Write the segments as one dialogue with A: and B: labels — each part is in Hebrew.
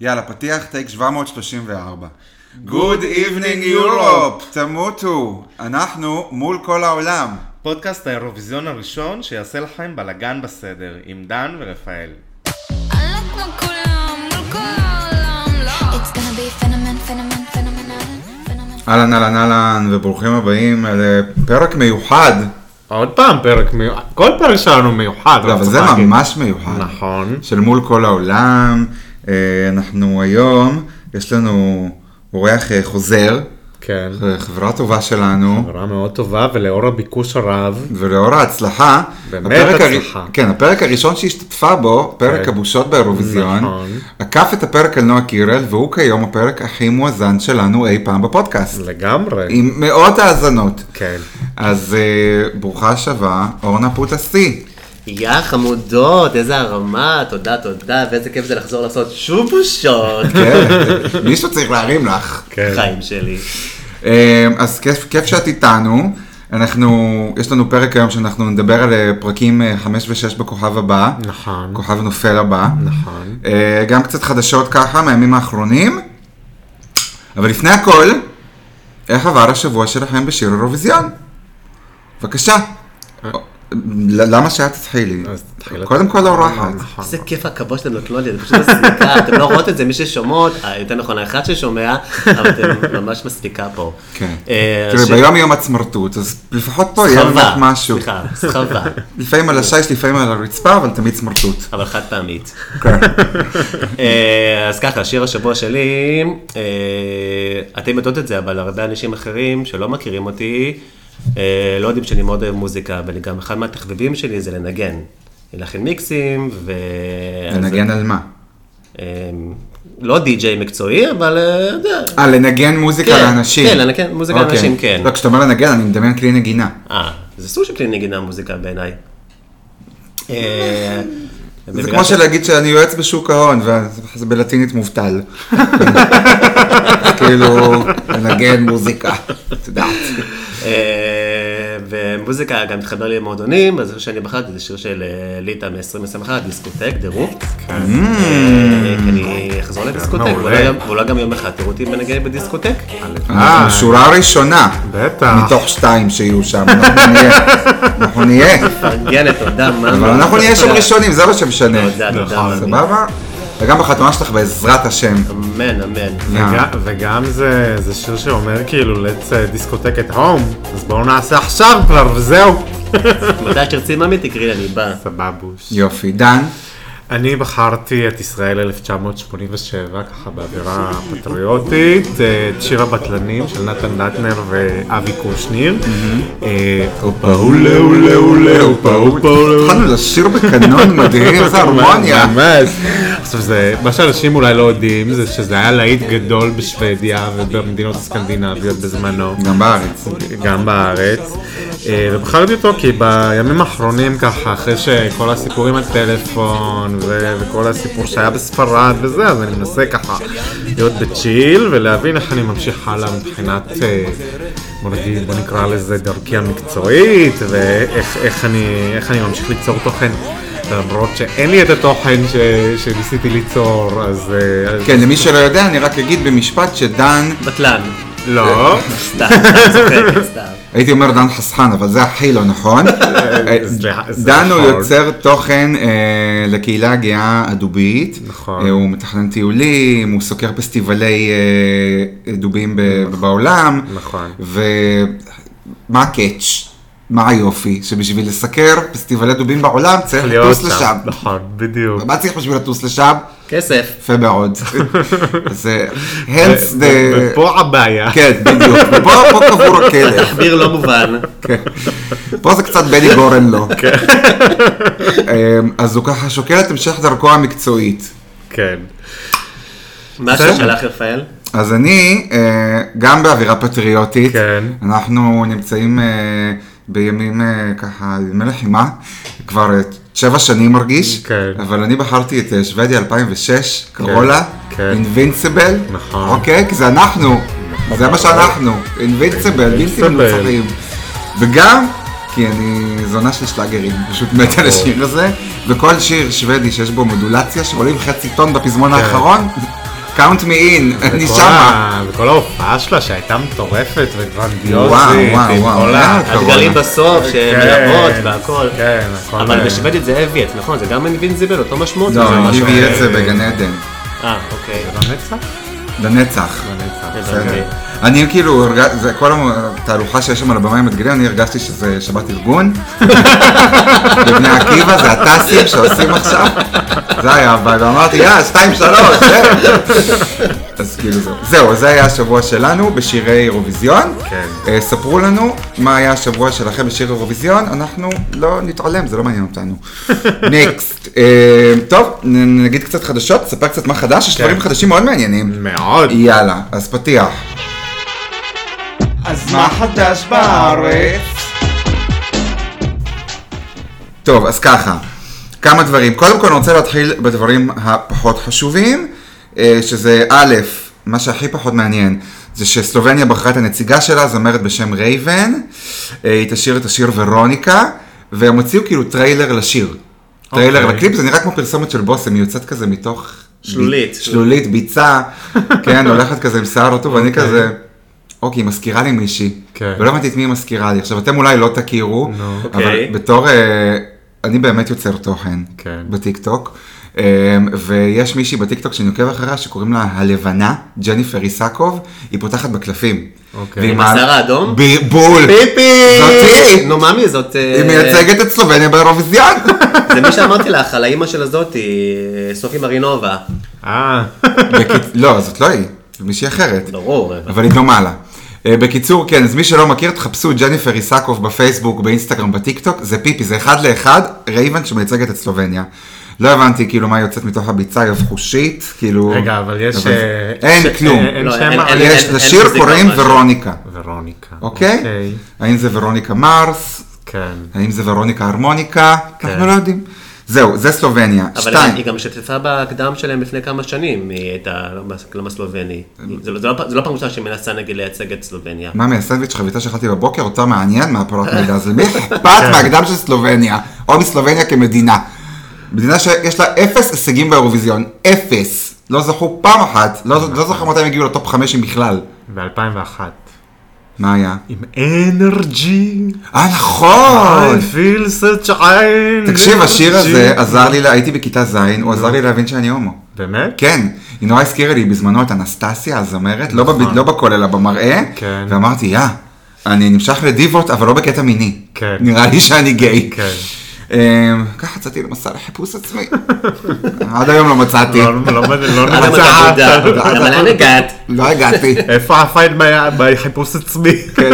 A: יאללה, פתיח טייק 734. Good evening Europe, תמותו, אנחנו מול כל העולם.
B: פודקאסט האירוויזיון הראשון שיעשה לכם בלאגן בסדר, עם דן ורפאל.
C: It's gonna be phenomen, phenomen, phenomenon, phenomen.
A: אהלן אהלן אהלן, וברוכים הבאים לפרק מיוחד.
D: עוד פעם פרק מיוחד, כל פרק שלנו מיוחד.
A: לא, אבל
D: רציתי
A: זה
D: להגיד.
A: ממש מיוחד.
D: נכון.
A: של מול כל העולם. אה, אנחנו היום, יש לנו אורח אה, חוזר,
D: כן.
A: אה, חברה טובה שלנו.
D: חברה מאוד טובה, ולאור הביקוש הרב,
A: ולאור ההצלחה,
D: באמת
A: הפרק הר-
D: הצלחה.
A: כן, הפרק הראשון שהשתתפה בו, פרק
D: כן.
A: הבושות באירוויזיון,
D: נכון.
A: עקף את הפרק על נועה קירל, והוא כיום הפרק הכי מואזן שלנו אי פעם בפודקאסט,
D: לגמרי.
A: עם מאות האזנות.
D: כן.
A: אז אה, ברוכה שבה, אורנה פוטסי.
E: יא חמודות, איזה הרמה, תודה, תודה, ואיזה כיף זה לחזור לעשות שוב בושות.
A: כן, מישהו צריך להרים לך.
D: כן.
E: חיים שלי.
A: אה, אז כיף, כיף שאת איתנו. אנחנו, יש לנו פרק היום שאנחנו נדבר על אה, פרקים 5 ו-6 בכוכב הבא.
D: נכון.
A: כוכב נופל הבא.
D: נכון.
A: אה, גם קצת חדשות ככה מהימים האחרונים. אבל לפני הכל, איך עבר השבוע שלכם בשיר אירוויזיון? בבקשה.
E: אה.
A: ל- למה שאת תתחילי?
D: אז תתחילי.
A: קודם כל
E: אה,
A: האורחת.
D: נכון.
E: איזה כיף הכבוד שאתם נותנות לי, אני פשוט מסמיקה, אתם לא רואות את זה, מי ששומעות, אה, יותר נכון, האחד ששומע, אבל אתם ממש מסמיקה פה.
A: כן.
E: אה,
A: תראי,
E: ש-
A: ביום יום עצמרתות, אז לפחות פה יהיה
E: סחבה,
A: לך משהו.
E: סליחה, סחבה,
A: לפעמים על השיש, לפעמים על הרצפה, אבל תמיד סמרטוט.
E: אבל חד פעמית.
A: כן.
E: אה, אז ככה, שיר השבוע שלי, אה, אתם יודעות את זה, אבל הרבה אנשים אחרים שלא מכירים אותי, אה, לא יודעים שאני מאוד אוהב מוזיקה, ואני גם, אחד מהתחביבים שלי זה לנגן. ללחן מיקסים, ו...
A: לנגן על מה?
E: אה, לא די-ג'יי מקצועי, אבל אה, אתה יודע.
A: אה, לנגן מוזיקה
E: כן,
A: לאנשים.
E: כן, לנגן מוזיקה
A: אוקיי.
E: לאנשים, כן.
A: לא, כשאתה אומר לנגן, אני מדמיין כלי נגינה.
E: אה, זה סוג של כלי נגינה מוזיקה בעיניי. אה,
A: זה
E: ובגלל
A: כמו
E: ש-
A: שלהגיד שאני יועץ בשוק ההון, וזה בלטינית מובטל. כאילו, לנגן מוזיקה, את יודעת.
E: אה, ומוזיקה גם מתחבר לי למועדונים, אז השיר שאני בחרתי זה שיר של אה, ליטא מ-2021, דיסקוטק, דירו. אה, כי אני אחזור לדיסקוטק,
D: מעולה.
E: ואולי גם- ואולי גם יום אחד תראו אותי מנגן בדיסקוטק.
A: אה, שורה ראשונה.
D: בטח.
A: מתוך שתיים שיהיו שם, אנחנו נהיה. אנחנו נהיה.
D: אה.
E: פרגנת, תודה, מה?
A: אבל אנחנו נהיה שם ראשונים, זה מה שמשנה.
D: נכון.
E: תודה, תודה, מאמי.
A: סבבה? וגם בחתונה שלך בעזרת השם. אה,
E: אמן, אמן.
D: וג- וגם זה זה שיר שאומר כאילו let's דיסקוטק את הום, אז בואו נעשה עכשיו כבר וזהו.
E: מתי שתרצי ממי תקראי, אני בא.
D: סבבוש.
A: יופי. דן,
D: אני בחרתי את ישראל 1987, ככה באווירה פטריוטית, אה, את שיר הבטלנים של נתן דטנר ואבי קושניר. אה, הופה אולה אולה אולה הופה הופה אולה
A: התחלנו לשיר בקנון
D: אה,
A: מדהים, איזה הרמוניה.
D: ממש. עכשיו זה, מה שאנשים אולי לא יודעים זה שזה היה להיט גדול בשוודיה ובמדינות הסקנדינביות בזמנו.
A: גם בארץ.
D: גם בארץ. אה, ובחרתי אותו כי בימים האחרונים ככה, אחרי שכל הסיפור עם הטלפון ו- וכל הסיפור שהיה בספרד וזה, אז אני מנסה ככה להיות בצ'יל ולהבין איך אני ממשיך הלאה מבחינת, אה, בוא נגיד, בוא נקרא לזה דרכי המקצועית, ואיך איך אני, איך אני ממשיך ליצור תוכן. למרות שאין לי את התוכן ש- שניסיתי ליצור, אז... אה, אז-
A: כן, למי שלא יודע, אני רק אגיד במשפט שדן
E: בטלן.
D: לא.
E: סתם, סתם, צוחקת, סתם.
A: הייתי אומר דן חסכן, אבל זה הכי לא נכון. אה,
D: זה- זה
A: דן הוא
D: נכון.
A: יוצר תוכן אה, לקהילה הגאה הדובית.
D: נכון.
A: אה, הוא מתכנן טיולים, הוא סוקר פסטיבלי אה, דובים ב- בעולם.
D: נכון.
A: ומה הקאץ'? מה היופי? שבשביל לסקר פסטיבלי דובים בעולם צריך
D: להיות
A: לטוס לשם.
D: נכון, בדיוק.
A: מה צריך בשביל לטוס לשם?
E: כסף.
A: יפה מאוד. זה, hence
D: ו-
A: the...
D: ופה הבעיה.
A: אה, כן, בדיוק. ופה פה קבור הכלב.
E: תחביר לא מובן.
A: כן. פה זה קצת בני גורן לא.
D: כן.
A: אמ, אז הוא ככה שוקל את המשך דרכו המקצועית.
D: כן.
E: משהו שלח רפאל?
A: אז אני, אה, גם באווירה פטריוטית,
D: כן.
A: אנחנו נמצאים אה, בימים אה, ככה, ימי לחימה, כבר אה, שבע שנים מרגיש,
D: כן.
A: אבל אני בחרתי את אה, שוודיה 2006, קרולה,
D: כן.
A: אינבינסיבל,
D: נכון.
A: אוקיי? כי זה אנחנו, זה מה שאנחנו, אינבינסיבל, בלתי
D: Invincible.
A: מנוצחים. וגם, כי אני זונה של שלאגרים, פשוט מת על השיר הזה, וכל שיר שוודי שיש בו מודולציה, שעולים חצי טון בפזמון האחרון, count me in, אני
D: וכל
A: שמה.
D: ה- וכל ההופעה שלה שהייתה מטורפת
A: וואו,
D: וגרנדיוזית,
A: וואו,
D: עם
A: וואו,
D: כל ה...
A: אה,
E: הדגלים בסוף, שמלוות
D: כן,
E: והכל.
D: כן, הכל...
E: אבל
D: אה,
E: בשוודית זה אביאט, נכון? זה גם אינבינזיבל, אותו משמעות?
A: לא,
E: זה משהו-
A: טיבי את זה בגן עדן,
E: אה, אוקיי.
D: לנצח?
A: לנצח.
D: לנצח.
E: הבנתי.
A: בסדר. אני כאילו, הרגש- זה כל התהלוכה שיש שם על הבמה עם הדגלים, אני הרגשתי שזה שבת ארגון. בבני עקיבא זה הטסים שעושים עכשיו. זה היה הבעיה, ואמרתי, יא, שתיים, שלוש, זהו. אז כאילו זהו. זהו, זה היה השבוע שלנו בשירי אירוויזיון.
D: כן.
A: אה, ספרו לנו מה היה השבוע שלכם בשיר אירוויזיון, אנחנו לא נתעלם, זה לא מעניין אותנו. נקסט. אה, טוב, נ- נגיד קצת חדשות, נספר קצת מה חדש, יש דברים חדשים מאוד מעניינים.
D: מאוד.
A: יאללה, אז פתיח.
B: אז
A: מה חדש בארץ? טוב, אז ככה, כמה דברים. קודם כל אני רוצה להתחיל בדברים הפחות חשובים, אה, שזה א', מה שהכי פחות מעניין, זה שסלובניה בחרה את הנציגה שלה, זמרת בשם רייבן, אה, היא תשיר את השיר ורוניקה, והם הוציאו כאילו טריילר לשיר. טריילר
D: אוקיי.
A: לקליפ, זה נראה כמו פרסומת של בושם, היא יוצאת כזה מתוך...
E: שלולית.
A: שלולית, ביצה, כן, הולכת כזה עם שיער רטוב, ואני כזה, אוקיי, היא מזכירה לי מישהי.
D: כן.
A: ולא הבנתי את מי היא מזכירה לי. עכשיו, אתם אולי לא תכירו,
D: נו.
A: אבל
E: אוקיי.
A: בתור, אה, אני באמת יוצר תוכן
D: כן.
A: בטיקטוק, אה, ויש מישהי בטיקטוק שאני עוקב אחריה שקוראים לה הלבנה, ג'ניפר איסקוב, היא פותחת בקלפים.
D: אוקיי.
A: והיא
E: עם
A: מעלה-
E: השיער האדום? אה.
A: ב- בול.
E: פיפי!
A: זאתי!
E: נו, ממי, זאת... אה,
A: היא מייצגת את סלובניה באירוויזיון.
E: זה מי שאמרתי לך, על האימא של הזאתי, אה, סופי מרינובה.
D: אה,
A: בקיצ- לא, זאת לא היא, זאת מישהי אחרת.
E: ברור.
A: אבל היא דומה לה. אה, בקיצור, כן, אז מי שלא מכיר, תחפשו ג'ניפר איסקוב בפייסבוק, באינסטגרם, בטיקטוק, זה פיפי, זה אחד לאחד, רייבן שמייצגת את סלובניה. לא הבנתי כאילו מה יוצאת מתוך הביצה, היא חושית, כאילו...
D: רגע, אבל יש... אה,
A: אין
D: ש-
A: כלום.
D: אה, אין
E: לא,
D: שם
E: אין- אין-
D: על-
A: יש,
E: אין
A: לשיר
E: מוזיקה או
A: קוראים
E: משהו.
A: ורוניקה,
D: ורוניקה.
A: אוקיי? האם זה ורוניקה מרס?
D: כן.
A: האם זה ורוניקה הרמוניקה?
D: כן.
A: אנחנו לא יודעים. זהו, זה סלובניה.
E: אבל
A: שתיים.
E: היא גם השתתפה בקדם שלהם לפני כמה שנים, היא הייתה קלם הסלובני. זה לא- זה לא- זה לא פעם ראשונה שהיא מנסה נגיד לייצג את סלובניה.
A: מה מהסנדוויץ' חביתה שאכלתי בבוקר, אותה מעניין מהפרות מידע הזה. מי אכפת מהקדם של סלובניה, או מסלובניה כמדינה? מדינה שיש לה אפס הישגים באירוויזיון, אפס. לא זכו פעם אחת, לא לא זוכר מתי הם הגיעו לטופ חמש אם בכלל.
D: ב-2001.
A: מה היה?
D: עם אנרג'י.
A: אה, נכון!
D: I feel such energy.
A: תקשיב, השיר הזה עזר לי, לה- הייתי בכיתה ז', הוא עזר לי להבין שאני הומו.
D: באמת?
A: כן, היא נורא הזכירה לי בזמנו את אנסטסיה הזמרת, לא בב- לא בקול אלא במראה,
D: נכון. כן.
A: ואמרתי, יא, אני נמשך לדיבות, אבל לא בקטע מיני.
D: כן.
A: נראה לי שאני גיי.
D: כן.
A: אמ, ככה יצאתי למסע לחיפוש עצמי. עד היום לא מצאתי.
D: לא- לא- לא
E: למה אתה
D: נמצא.
E: מודע? למה לאן הגעת?
A: לא הגעתי.
D: איפה ה-find my- my חיפוש עצמי?
A: כן,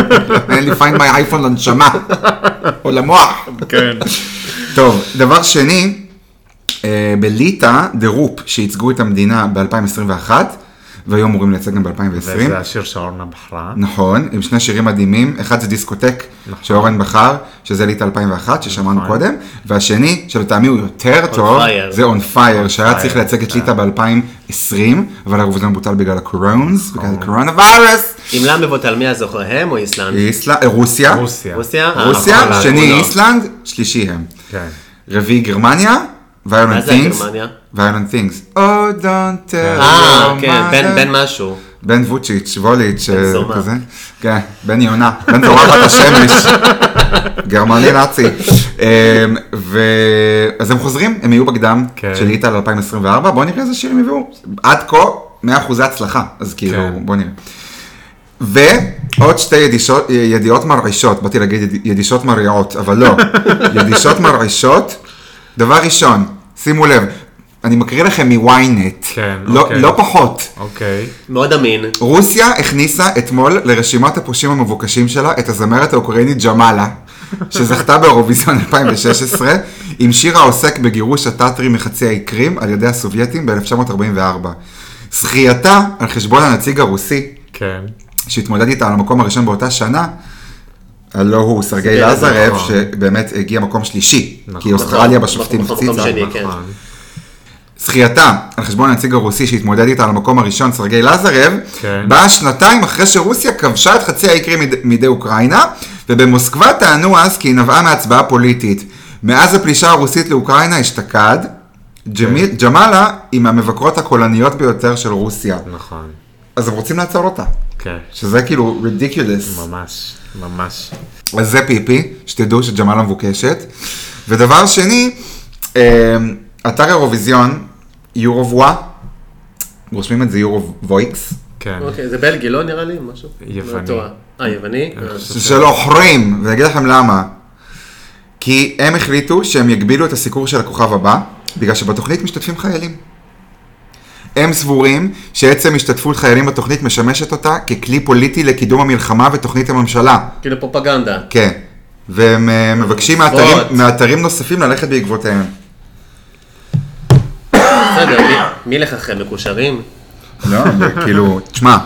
A: אין לי פיינד מי אייפון לנשמה. או למוח.
D: כן.
A: טוב, דבר שני, אה, בליטא, דה רופ, שייצגו את המדינה ב-2021, והיו אמורים לייצג גם ב-2020.
D: וזה השיר שאורנה בחרה.
A: נכון, עם שני שירים מדהימים, אחד זה דיסקוטק
E: נכון.
A: שאורן בחר, שזה ליטא 2001, ששמענו קודם, והשני, שלטעמי הוא יותר טוב,
E: Fire. כן.
A: זה On Fire, שהיה צריך לייצג את ליטא ב-2020, אבל האירוויזיון בוטל בגלל הקורונס, בגלל הקורונה ויירס.
E: אם למה מבוטל מי הזוכר, הם או איסלנד?
A: איסלה- אה, רוסיה,
D: רוסיה.
E: רוסיה? אה, נכון,
A: רוסיה, שני
E: לא.
A: איסלנד, שלישי הם.
D: כן.
A: רביעי גרמניה,
E: מה
A: ויולנט
E: זה
A: תינגס,
E: גרמניה?
A: ויולנט תינגס. או דונט טל.
E: אה,
A: לא,
E: כן, בן- בן משהו.
A: בן ווציץ', ווליץ', אה,
E: זומא.
A: כזה. כן, בן יונה, בן זורחת השמש. גרמני נאצי. אמ, ו... אז הם חוזרים, הם יהיו בקדם
D: כן.
A: של ליטא ל-2024, בואו נראה איזה שירים יביאו. עד כה, 100% הצלחה, אז כאילו,
D: כן.
A: בואו נראה. ועוד שתי ידישות, ידיעות מרעישות, באתי להגיד יד- ידישות מרעיעות, אבל לא, ידישות מרעישות. דבר ראשון, שימו לב, אני מקריא לכם מ-ynet,
D: כן,
A: לא,
D: אוקיי.
A: לא פחות.
D: אוקיי.
E: מאוד אמין.
A: רוסיה הכניסה אתמול לרשימת הפושעים המבוקשים שלה את הזמרת האוקראינית ג'מאלה, שזכתה באירוויזיון 2016, עם שיר העוסק בגירוש הטאטרים מחצי האי קרים על ידי הסובייטים ב-1944. זכייתה על חשבון הנציג הרוסי,
D: כן.
A: שהתמודד איתה על המקום הראשון באותה שנה, הלא הוא סרגי
E: סרגי
A: לזרב,
D: נכון.
A: שבאמת הגיע מקום שלישי,
D: נכון.
A: כי אוסטרליה
E: נכון,
A: בשופטים אה,
E: מקום- מקום
A: הפציצה.
E: שני, כן.
D: נכון.
A: זכייתה על חשבון הנציג הרוסי שהתמודד איתה על המקום הראשון, סרגי לזרב,
D: כן.
A: באה שנתיים אחרי שרוסיה כבשה את חצי האי קרים מיד- מידי אוקראינה, ובמוסקבה טענו אז כי היא נבעה מהצבעה פוליטית. מאז הפלישה הרוסית לאוקראינה אשתקד, ג'מיל, ג'מאלה היא מהמבקרות הקולניות ביותר של רוסיה,
D: נכון.
A: אז הם רוצים לעצור אותה,
D: כן.
A: שזה כאילו ridiculous.
D: ממש, ממש.
A: אז זה פיפי, שתדעו שג'מאלה מבוקשת. ודבר שני, אה, אתר אירוויזיון, יורובווה, רושמים את זה יורובוויקס,
D: כן.
E: אוקיי, זה בלגי, לא נראה לי? משהו?
D: יווני.
E: לא טועה. אה, יווני? אה.
A: של עוכרים, ואני אגיד לכם למה. כי הם החליטו שהם יגבילו את הסיקור של הכוכב הבא, בגלל שבתוכנית משתתפים חיילים. הם סבורים שעצם השתתפות חיילים בתוכנית משמשת אותה ככלי פוליטי לקידום המלחמה ותוכנית הממשלה.
E: כאילו פרופגנדה.
A: כן. והם אה, מבקשים מאתרים,
E: מצוות.
A: מאתרים נוספים ללכת בעקבותיהם.
E: בסדר, מי- מי לך אחרי מקושרים?
A: לא, זה כאילו, תשמע,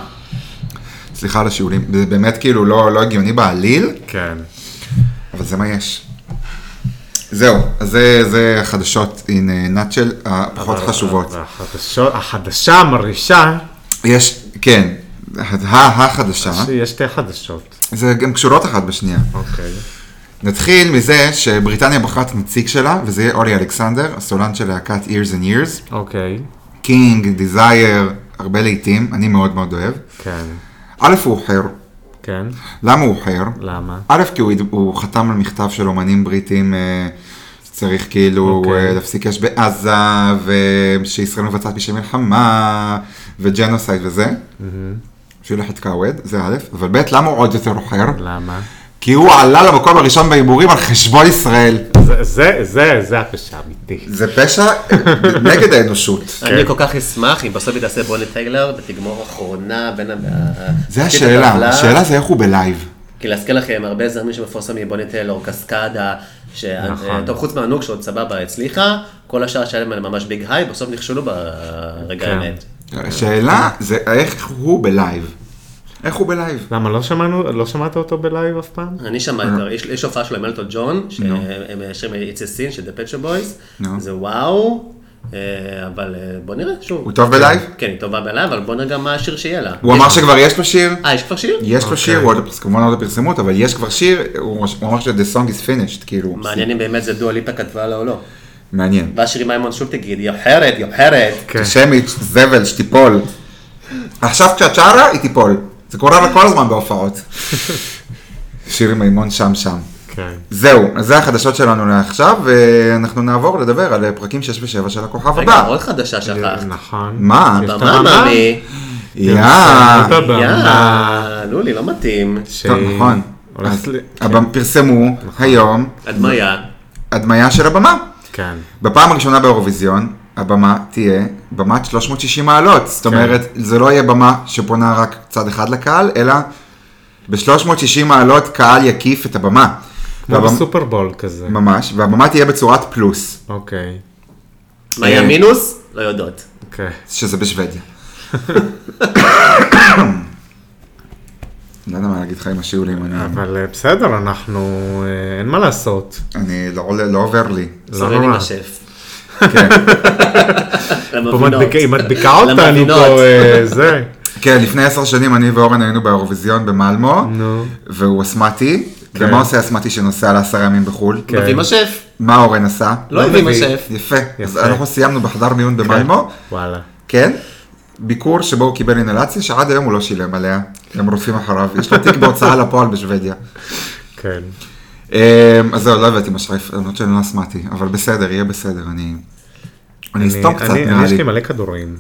A: סליחה על השיעולים, זה באמת כאילו לא, לא הגיוני בעליל,
D: כן.
A: אבל זה מה יש. זהו, אז זה, זה החדשות in a nutshell הפחות חשובות.
D: אה,
A: אה?
D: והחדשות- החדשה המרעישה,
A: יש, כן, ה- החדשה,
D: יש שתי חדשות.
A: זה גם קשורות אחת בשנייה.
D: אוקיי.
A: נתחיל מזה שבריטניה בחרה את הנציג שלה, וזה יהיה אולי אלכסנדר, הסולן של להקת Years and Years,
D: אוקיי.
A: קינג, דיזייר, הרבה להיטים, אני מאוד מאוד אוהב.
D: כן.
A: א', הוא אוחר,
D: כן.
A: למה הוא אוחר?
D: למה?
A: א', כי הוא, הד- הוא חתם על מכתב של אומנים בריטים אה, שצריך כאילו
D: אוקיי.
A: okay. להפסיק אש בעזה, ושישראל מבצעת פשעי מלחמה, וג'נוסייד וזה. שילך את קאווד, זה א', אבל ב', למה הוא עוד יותר אוחר?
D: למה?
A: כי הוא עלה למקום הראשון בהימורים על חשבון ישראל.
D: זה- זה, זה, זה הפשע האמיתי.
A: זה פשע אה, נגד האנושות.
E: אני כל כך אשמח אם בסוף היא תעשה בוני טיילר ותגמור אחרונה בין ה... אה,
A: זה
E: תפקיד
A: השאלה,
E: הטבלה.
A: השאלה זה איך הוא בלייב.
E: כי להזכיר לכם, הרבה זרמים שמפורסמים מבוני טיילור, קסקדה, ש... אה,
D: נכון.
E: טוב, חוץ מהנוג שעוד סבבה הצליחה, כל השאר שלהם עליהם ממש ביג היי, בסוף נכשלו ברגע
D: כן.
E: האמת.
A: השאלה זה איך הוא בלייב. איך הוא בלייב.
D: למה, לא שמענו, לא שמעת אותו בלייב אף פעם?
E: אני
A: אה.
E: שמעתי, יש- יש הופעה שלו עם אלטון ג'ון, שהם מאשרים את It's a Sin של The Pet Shop Boys,
A: נו.
E: זה וואו, אה, אבל אה, בוא נראה שוב.
A: הוא טוב בלייב?
E: כן, היא טובה בלייב, אבל בוא נראה גם מה השיר שיהיה לה.
A: הוא אמר שכבר יש לו שיר.
E: אה, יש כבר שיר?
A: יש לו
D: אוקיי.
A: שיר, הוא עוד לא פרס- כמובן עוד לא פרסמו, אבל יש כבר שיר, הוא הוא אמר ש-The song is finished, כאילו.
E: מעניין אם באמת זה דואה ליפה כתבה לה או לא.
A: מעניין.
E: והשיר עם מימון שוב תגיד, יא חרת, יא חרת.
D: כן.
A: שמית, זבל, שתיפול. עכשיו כשאת שרה, היא תיפול. זה קורה לה כל הזמן בהופעות. שיר עם מימון שם שם.
D: כן.
A: זהו, אז זה החדשות שלנו לעכשיו, ואנחנו נעבור לדבר על פרקים 6 ו-7 של הכוכב
E: רגע,
A: הבא.
E: עוד חדשה שכחת.
D: נכון.
A: מה?
D: יש את
E: במה, מאמי.
D: כן,
A: יאה.
D: את הבמה.
E: יא, לולי, לא מתאים.
D: שהיא
A: טוב, נכון.
D: הולכת
A: אז
D: ל... כן. נכון.
A: הבמ- פרסמו היום אה.
E: הדמיה.
A: הדמיה של הבמה.
D: כן.
A: בפעם הראשונה באירוויזיון, הבמה תהיה במת 360 מעלות.
D: כן.
A: זאת אומרת, זה לא יהיה במה שפונה רק צד אחד לקהל, אלא ב-360 מעלות קהל יקיף את הבמה.
D: כמו
A: והבמ-
D: לא בסופרבול כזה.
A: ממש, והבמה תהיה בצורת פלוס,
D: אוקיי.
E: מה יהיה
A: אה.
E: מינוס? לא יודעות.
D: אוקיי.
A: שזה בשוודיה. לא יודע מה להגיד לך עם השיעולים, אני-
D: אבל אה, בסדר, אנחנו... אה, אין מה לעשות.
A: אני לא עולה- לא עובר לי.
D: לא
E: סולל עם
D: נורא.
E: השף. לא
A: כן.
D: פה מדביקה- היא מדביקה אותנו
E: למבינות.
D: פה, אה, זה.
A: כן, לפני עשר שנים אני ואורן היינו באירוויזיון במלמו,
D: נו.
A: והוא אסמטי, ומה עושה אסמטי שנוסע לעשרה ימים בחו"ל?
D: כן.
E: מביא עם השף.
A: מה אורן עשה?
E: לא הביא משאף.
A: יפה. אז
D: יפה.
A: אנחנו סיימנו בחדר מיון במלמו,
D: וואלה.
A: כן? ביקור שבו הוא קיבל אינלציה שעד היום הוא לא שילם עליה, הם רודפים אחריו, יש לו תיק בהוצאה לפועל בשוודיה.
D: כן.
A: אמ, אז זהו, לא הבאתי משרף, למרות שאני לא אסמתי, אבל בסדר, יהיה בסדר, אני... אני
D: אני-
A: אסתום קצת
D: אני-
A: נראה
D: יש לי
A: לי.
D: מלא כדורים.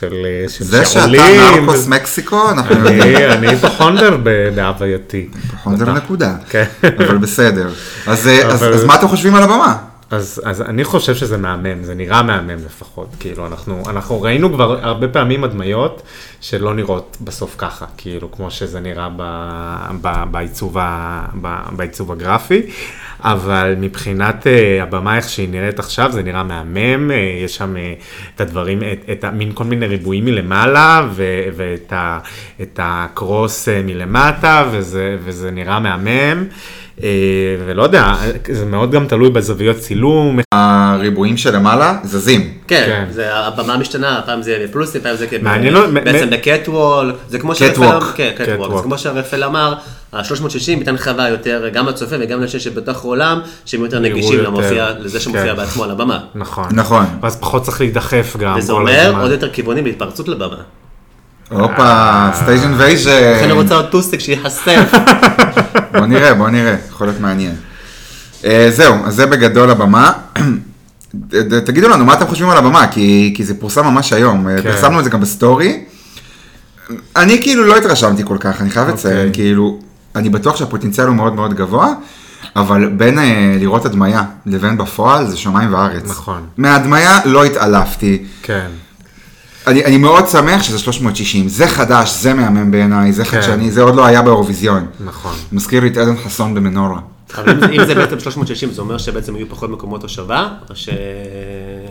D: של אה, של
A: זה שאתה
D: שעולים.
A: נרקוס מקסיקו, אנחנו יודעים.
D: אני- אני היפוכונדר ב- בהווייתי.
A: חונדר נקודה.
D: כן.
A: אבל בסדר. אז אה, אז-
D: אבל-
A: אז מה אתם חושבים על הבמה?
D: אז, אז אני חושב שזה מהמם, זה נראה מהמם לפחות, כאילו אנחנו, אנחנו ראינו כבר הרבה פעמים הדמיות שלא נראות בסוף ככה, כאילו כמו שזה נראה ב, ב, בעיצוב, ה, ב, בעיצוב הגרפי, אבל מבחינת uh, הבמה איך שהיא נראית עכשיו זה נראה מהמם, uh, יש שם uh, את הדברים, את, את המין כל מיני ריבועים מלמעלה ו, ואת ה, את הקרוס אה, מלמטה וזה, וזה נראה מהמם. Uh, אה, ולא יודע, זה מאוד גם תלוי בזוויות צילום,
A: הריבועים שלמעלה זזים.
E: כן,
D: כן.
E: זה- הבמה משתנה, פעם זה יהיה בפלוסים, פעם זה כ-
D: מעניין מאוד, מ-
E: בעצם
D: מ-
E: בקטוול, זה כמו
A: Catwalk.
E: כן,
D: Catwalk.
E: קטוול, זה כמו שהרפל אמר, ה-360 ניתן חוויה יותר גם לצופה וגם לאנשים שבתוך העולם, שהם יותר
D: יראו
E: נגישים
D: יותר.
E: למופיע- לזה שמופיע
D: כן.
E: בעצמו על הבמה.
D: נכון.
A: נכון.
D: ואז פחות צריך להידחף גם.
E: וזה
D: כל
E: אומר
D: הזמן. כן.
E: עוד יותר כיוונים להתפרצות לבמה.
D: אה.
A: הופה, סטייג'
E: לכן
A: אינבייז'ן.
E: אני רוצה עוד טוסיק שייחשף.
A: בוא נראה, בוא נראה, יכול להיות מעניין. אה, זהו, אז זה בגדול הבמה. ת- ת- תגידו לנו מה אתם חושבים על הבמה, כי, כי זה פורסם ממש היום, אה,
D: כן.
A: פרסמנו את זה גם בסטורי. אני כאילו לא התרשמתי כל כך, אני חייב לציין,
D: אוקיי.
A: כאילו, אני בטוח שהפוטנציאל הוא מאוד מאוד גבוה, אבל בין אה, לראות הדמיה לבין בפועל זה שמיים וארץ.
D: נכון.
A: מההדמיה לא התעלפתי.
D: כן.
A: אני, אני מאוד שמח שזה 360, זה חדש, זה מהמם בעיניי, זה
D: כן.
A: חדשני, זה עוד לא היה באירוויזיון.
D: נכון.
A: מזכיר לי את עדן חסון במנורה.
E: אבל אם זה- אם זה בעצם 360, זה אומר שבעצם יהיו פחות מקומות הושבה, או ש...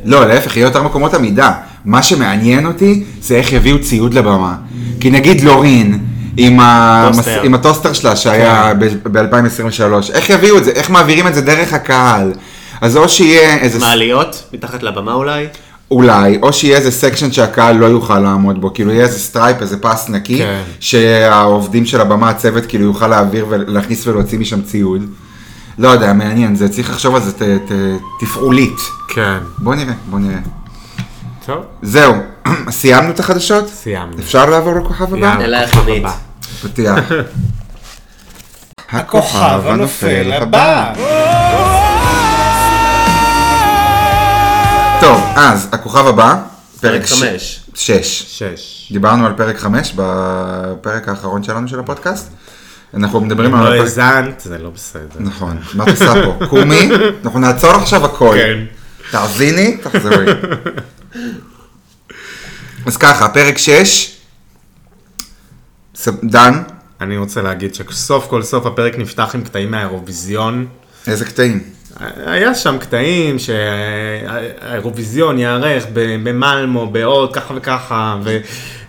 A: לא, להפך, יהיו יותר מקומות עמידה. מה שמעניין אותי זה איך יביאו ציוד לבמה. כי נגיד לורין, עם, המס...
E: טוסטר.
A: עם הטוסטר שלה שהיה ב-2023, איך יביאו את זה? איך מעבירים את זה דרך הקהל? אז או שיהיה איזה...
E: מעליות, מתחת לבמה אולי.
A: אולי, או שיהיה איזה סקשן שהקהל לא יוכל לעמוד בו, כאילו יהיה איזה סטרייפ, איזה פס נקי,
D: כן.
A: שהעובדים של הבמה, הצוות, כאילו יוכל להעביר ולהכניס ולהוציא משם ציוד. לא יודע, מעניין, זה צריך לחשוב על זה ת, ת, תפעולית.
D: כן.
A: בוא נראה, בוא נראה.
D: טוב.
A: זהו, סיימנו את החדשות?
D: סיימנו.
A: אפשר לעבור לכוכב הבא?
D: יאללה,
E: אליי
D: כוכב
E: החנית.
D: הבא.
A: פתיח.
F: הכוכב הנופל הבא.
A: טוב, אז הכוכב הבא, פרק
E: פרק חמש.
A: 6.
D: שש.
A: דיברנו על פרק 5 בפרק האחרון שלנו של הפודקאסט. אנחנו מדברים על...
D: לא
A: הפרק-
D: האזנת, זה לא בסדר.
A: נכון, מה את עושה פה? קומי, אנחנו נעצור עכשיו הכל.
D: כן.
A: תאזיני, תחזרי. אז ככה, פרק 6, דן,
D: אני רוצה להגיד שסוף כל סוף הפרק נפתח עם קטעים מהאירוויזיון.
A: איזה קטעים?
D: היה שם קטעים שהאירוויזיון ייערך ב- במלמו, בעוד ככה וככה, ו...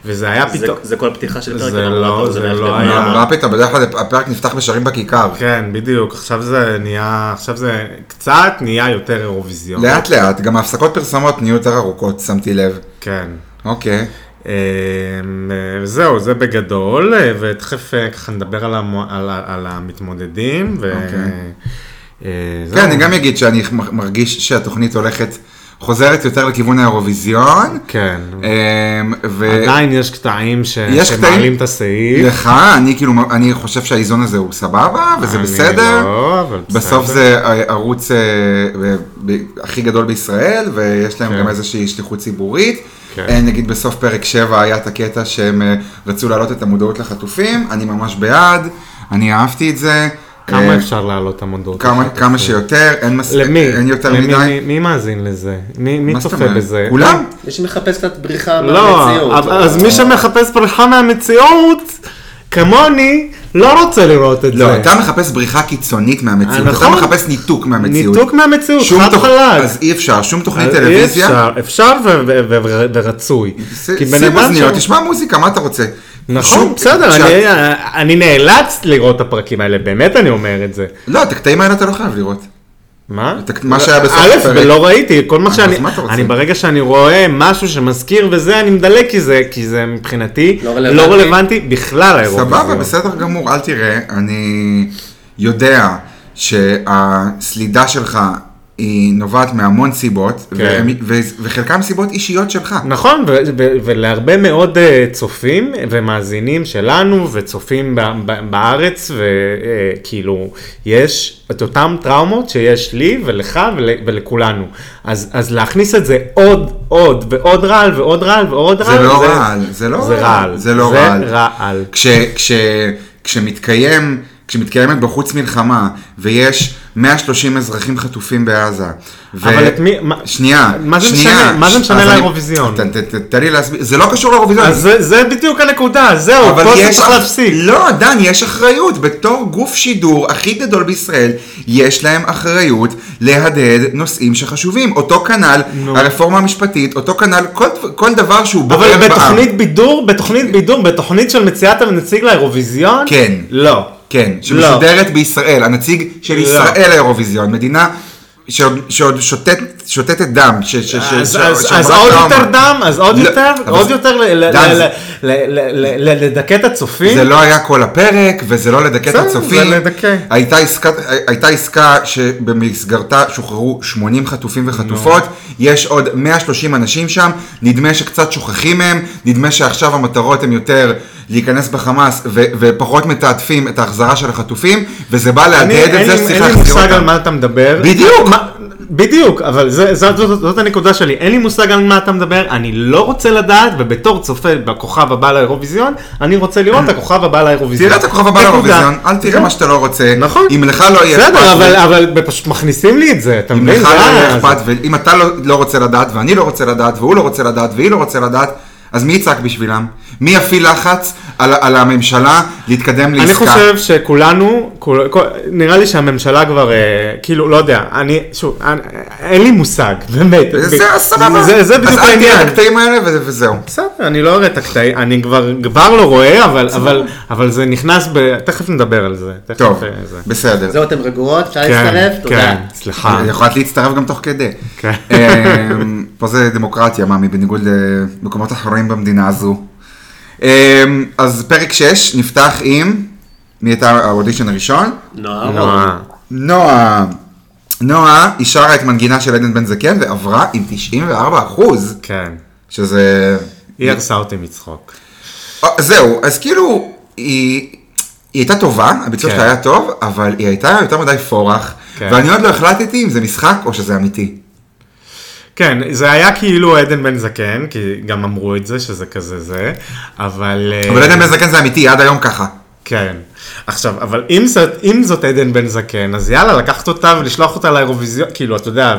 D: וזה היה
E: זה-
D: פתאום...
E: זה כל פתיחה של פרק.
D: זה
E: אבל
D: לא-
E: אבל
D: זה
E: מעט
D: לא
E: מאוד.
D: היה.
A: מה פתאום, בדרך כלל הפרק נפתח בשרים בכיכר.
D: כן, בדיוק, עכשיו זה נהיה, עכשיו זה קצת נהיה יותר אירוויזיון.
A: לאט לאט, גם ההפסקות פרסומות נהיו יותר ארוכות, שמתי לב.
D: כן.
A: אוקיי.
D: אמ, אה, זהו, זה בגדול, אה, ותכף אה, ככה נדבר על, המו, על, ה- על המתמודדים. ו...
A: אוקיי.
D: אה, זהו.
A: כן, אני גם אגיד שאני מ- מרגיש שהתוכנית הולכת, חוזרת יותר לכיוון האירוויזיון.
D: כן.
A: אמ, ו...
D: עדיין יש קטעים ש...
A: יש קטעים-
D: שמעלים את הסעיף.
A: לך, אני כאילו, אני חושב שהאיזון הזה הוא סבבה, וזה
D: אני
A: בסדר.
D: לא, אבל בסדר.
A: בסוף זה אה, ערוץ אה, אה, ב- הכי גדול בישראל, ויש להם
D: כן.
A: גם איזושהי שליחות ציבורית.
D: כן.
A: אה, נגיד בסוף פרק 7 היה את הקטע שהם אה, רצו להעלות את המודעות לחטופים, אני ממש בעד, אני אהבתי את זה.
D: כמה
A: אה,
D: אפשר להעלות את המודעות?
A: כמה-
D: לחטופים?
A: כמה שיותר, אין מס- אה,
D: למי?
A: אין יותר
D: למי-
A: מדי.
D: מי- מי מאזין לזה? מי מי
A: מה זאת
D: צופה
A: אומרת?
D: בזה? אה,
A: כולם?
E: מי שמחפש קצת בריחה
D: לא,
E: מהמציאות.
D: אבל- אז מי שמחפש פריחה מהמציאות, כמוני, לא רוצה לראות את זה.
A: לא, אתה מחפש בריחה קיצונית מהמציאות, אתה
D: אה, נכון.
A: מחפש ניתוק מהמציאות.
D: ניתוק מהמציאות,
A: שום
D: חד
A: תוכ-
D: חלק.
A: אז אי אפשר, שום תוכנית
D: אז אי
A: טלוויזיה.
D: אפשר- אפשר ו- ו- ו- ו- ורצוי.
A: ש-
D: כי בן
A: שים
D: אדם
A: אוזניות,
D: ש-
A: תשמע מוזיקה, מה אתה רוצה?
D: נכון,
A: שום-
D: בסדר,
A: כשה-
D: אני- אני נאלץ לראות את הפרקים האלה, באמת אני אומר את זה.
A: לא, את הקטעים האלה אתה לא חייב לראות.
D: מה?
A: את- מה שהיה בסוף
D: א',
A: הפרק.
D: ולא ראיתי, כל מה
A: אז
D: שאני,
A: מה אתה רוצה?
D: אני ברגע שאני רואה משהו שמזכיר וזה, אני מדלג כי זה, כי זה מבחינתי
E: לא רלוונטי.
D: לא רלוונטי בכלל האירוויזיון.
A: סבבה, בסדר גמור, אל תראה, אני יודע שהסלידה שלך היא נובעת מהמון סיבות,
D: כן.
A: והם- ו- וחלקם סיבות אישיות שלך.
D: נכון, ו- ו- ולהרבה מאוד אה, צופים ומאזינים שלנו וצופים ב- ב- בארץ, וכאילו, יש את אותן טראומות שיש לי ולך ול- ולכולנו. אז אז להכניס את זה עוד, עוד, ועוד רעל, ועוד רעל, ועוד רעל,
A: זה לא רעל, זה לא
D: זה רעל.
A: זה לא רעל.
D: זה רעל.
A: כש, כש, כשמתקיים, כשמתקיימת בחוץ מלחמה, ויש 130 אזרחים חטופים בעזה. ו...
D: אבל את מי- מה-
A: שנייה,
D: מה זה
A: שנייה.
D: משנה? מה זה
A: ש-
D: משנה
A: אז אני-
D: לאירוויזיון?
A: ת- ת- ת- תן לי להסביר, זה לא קשור לאירוויזיון.
D: אז זה- זה בדיוק הנקודה, זהו, פה זה צריך להפסיק.
A: לא, דן, יש אחריות. בתור גוף שידור הכי גדול בישראל, יש להם אחריות להדהד נושאים שחשובים. אותו כנ"ל,
D: נו.
A: הרפורמה המשפטית, אותו כנ"ל, כל, כל דבר שהוא בוער
D: אבל בתוכנית בידור, בתוכנית בידור, בתוכנית של מציאת הנציג לאירוויזיון?
A: כן.
D: לא.
A: כן, שמשודרת בישראל, הנציג של ישראל לאירוויזיון, מדינה שעוד- שעוד שותת- שותתת דם, ש- ש- ש-
D: אז-
A: ש-
D: אז
A: שעברה
D: אז עוד
A: טראומה.
D: יותר דם, אז עוד
A: לא,
D: יותר,
A: אבל
D: עוד
A: זה-
D: יותר ל- ל-
A: דן,
D: ל-
A: זה-
D: ל- ל- ל- ל- לדכא את הצופים.
A: זה לא היה כל הפרק, וזה לא לדכא את
D: בסדר,
A: הצופים.
D: זה לדכא.
A: הייתה עסקה, הייתה עסקה שבמסגרתה שוחררו 80 חטופים וחטופות,
D: לא.
A: יש עוד 130 אנשים שם, נדמה שקצת שוכחים מהם, נדמה שעכשיו המטרות הן יותר להיכנס בחמאס ו- ופחות מתעדפים את ההחזרה של החטופים, וזה בא
D: אני-
A: להדהד
D: אין
A: את זה
D: לי-
A: שצריך
D: אין לי
A: להחזיר
D: מושג על
A: אותם.
D: מה אתה מדבר.
A: בדיוק.
D: מה- בדיוק, אבל זה- זאת- זאת זאת הנקודה שלי, אין לי מושג על מה אתה מדבר, אני לא רוצה לדעת, ובתור צופה בכוכב הבא לאירוויזיון, אני רוצה לראות את הכוכב הבא לאירוויזיון.
A: תראה את הכוכב הבא
D: נקודה.
A: לאירוויזיון, אל תראה
D: זהו.
A: מה שאתה לא רוצה.
D: נכון.
A: אם לך לא יהיה
D: בסדר,
A: אכפת,
D: אבל,
A: ו-
D: אבל פשוט מכניסים לי את זה, אתה
A: אם
D: מבין?
A: לך
D: זה
A: לא יהיה
D: ה-
A: אכפת, ואם אתה לא- לא רוצה לדעת, ואני לא רוצה לדעת, והוא לא רוצה לדעת, והיא לא רוצה לדעת, אז מי יצעק בשבילם? מי יפעיל לחץ על- על הממשלה להתקדם לעסקה?
D: אני חושב שכולנו, כול, כל, נראה לי שהממשלה כבר, אה, כאילו, לא יודע, אני, שוב, אני, אין לי מושג, באמת.
A: זה אז סבבה.
D: זה, זה בדיוק
A: אז אל תראה
D: העניין.
A: את הקטעים האלה ו- וזהו.
D: בסדר, אני לא אראה את הקטעים, אני כבר, כבר לא רואה, אבל, אבל, אבל זה נכנס ב... תכף נדבר על זה. תכף,
A: טוב,
D: אה, זה.
A: בסדר.
G: זהו, אתם רגועות, אפשר
D: כן,
G: להצטרף? תודה.
D: כן, סליחה.
A: יכולת להצטרף גם תוך כדי.
D: כן.
A: אמ, פה זה דמוקרטיה, מאמי, בניגוד למקומות אחרים במדינה הזו. אמ, אז פרק 6 נפתח עם, מי הייתה האודישן הראשון?
E: נוער.
D: אה,
A: נועה. נועה, היא שרה את מנגינה של עדן בן זקן ועברה עם 94 אחוז,
D: כן.
A: שזה...
D: היא הרסה אותי מצחוק.
A: אה, זהו, אז כאילו, היא, היא הייתה טובה, הביצוע
D: כן.
A: שלה היה טוב, אבל היא הייתה יותר מדי פורח,
D: כן.
A: ואני עוד לא החלטתי אם זה משחק או שזה אמיתי.
D: כן, זה היה כאילו עדן בן זקן, כי גם אמרו את זה, שזה כזה זה, אבל... אה,
A: אבל עדן בן זקן זה אמיתי, עד היום ככה.
D: כן. עכשיו, אבל אם זאת, אם זאת עדן בן זקן, אז יאללה, לקחת אותה ולשלוח אותה לאירוויזיון, כאילו, אתה יודע,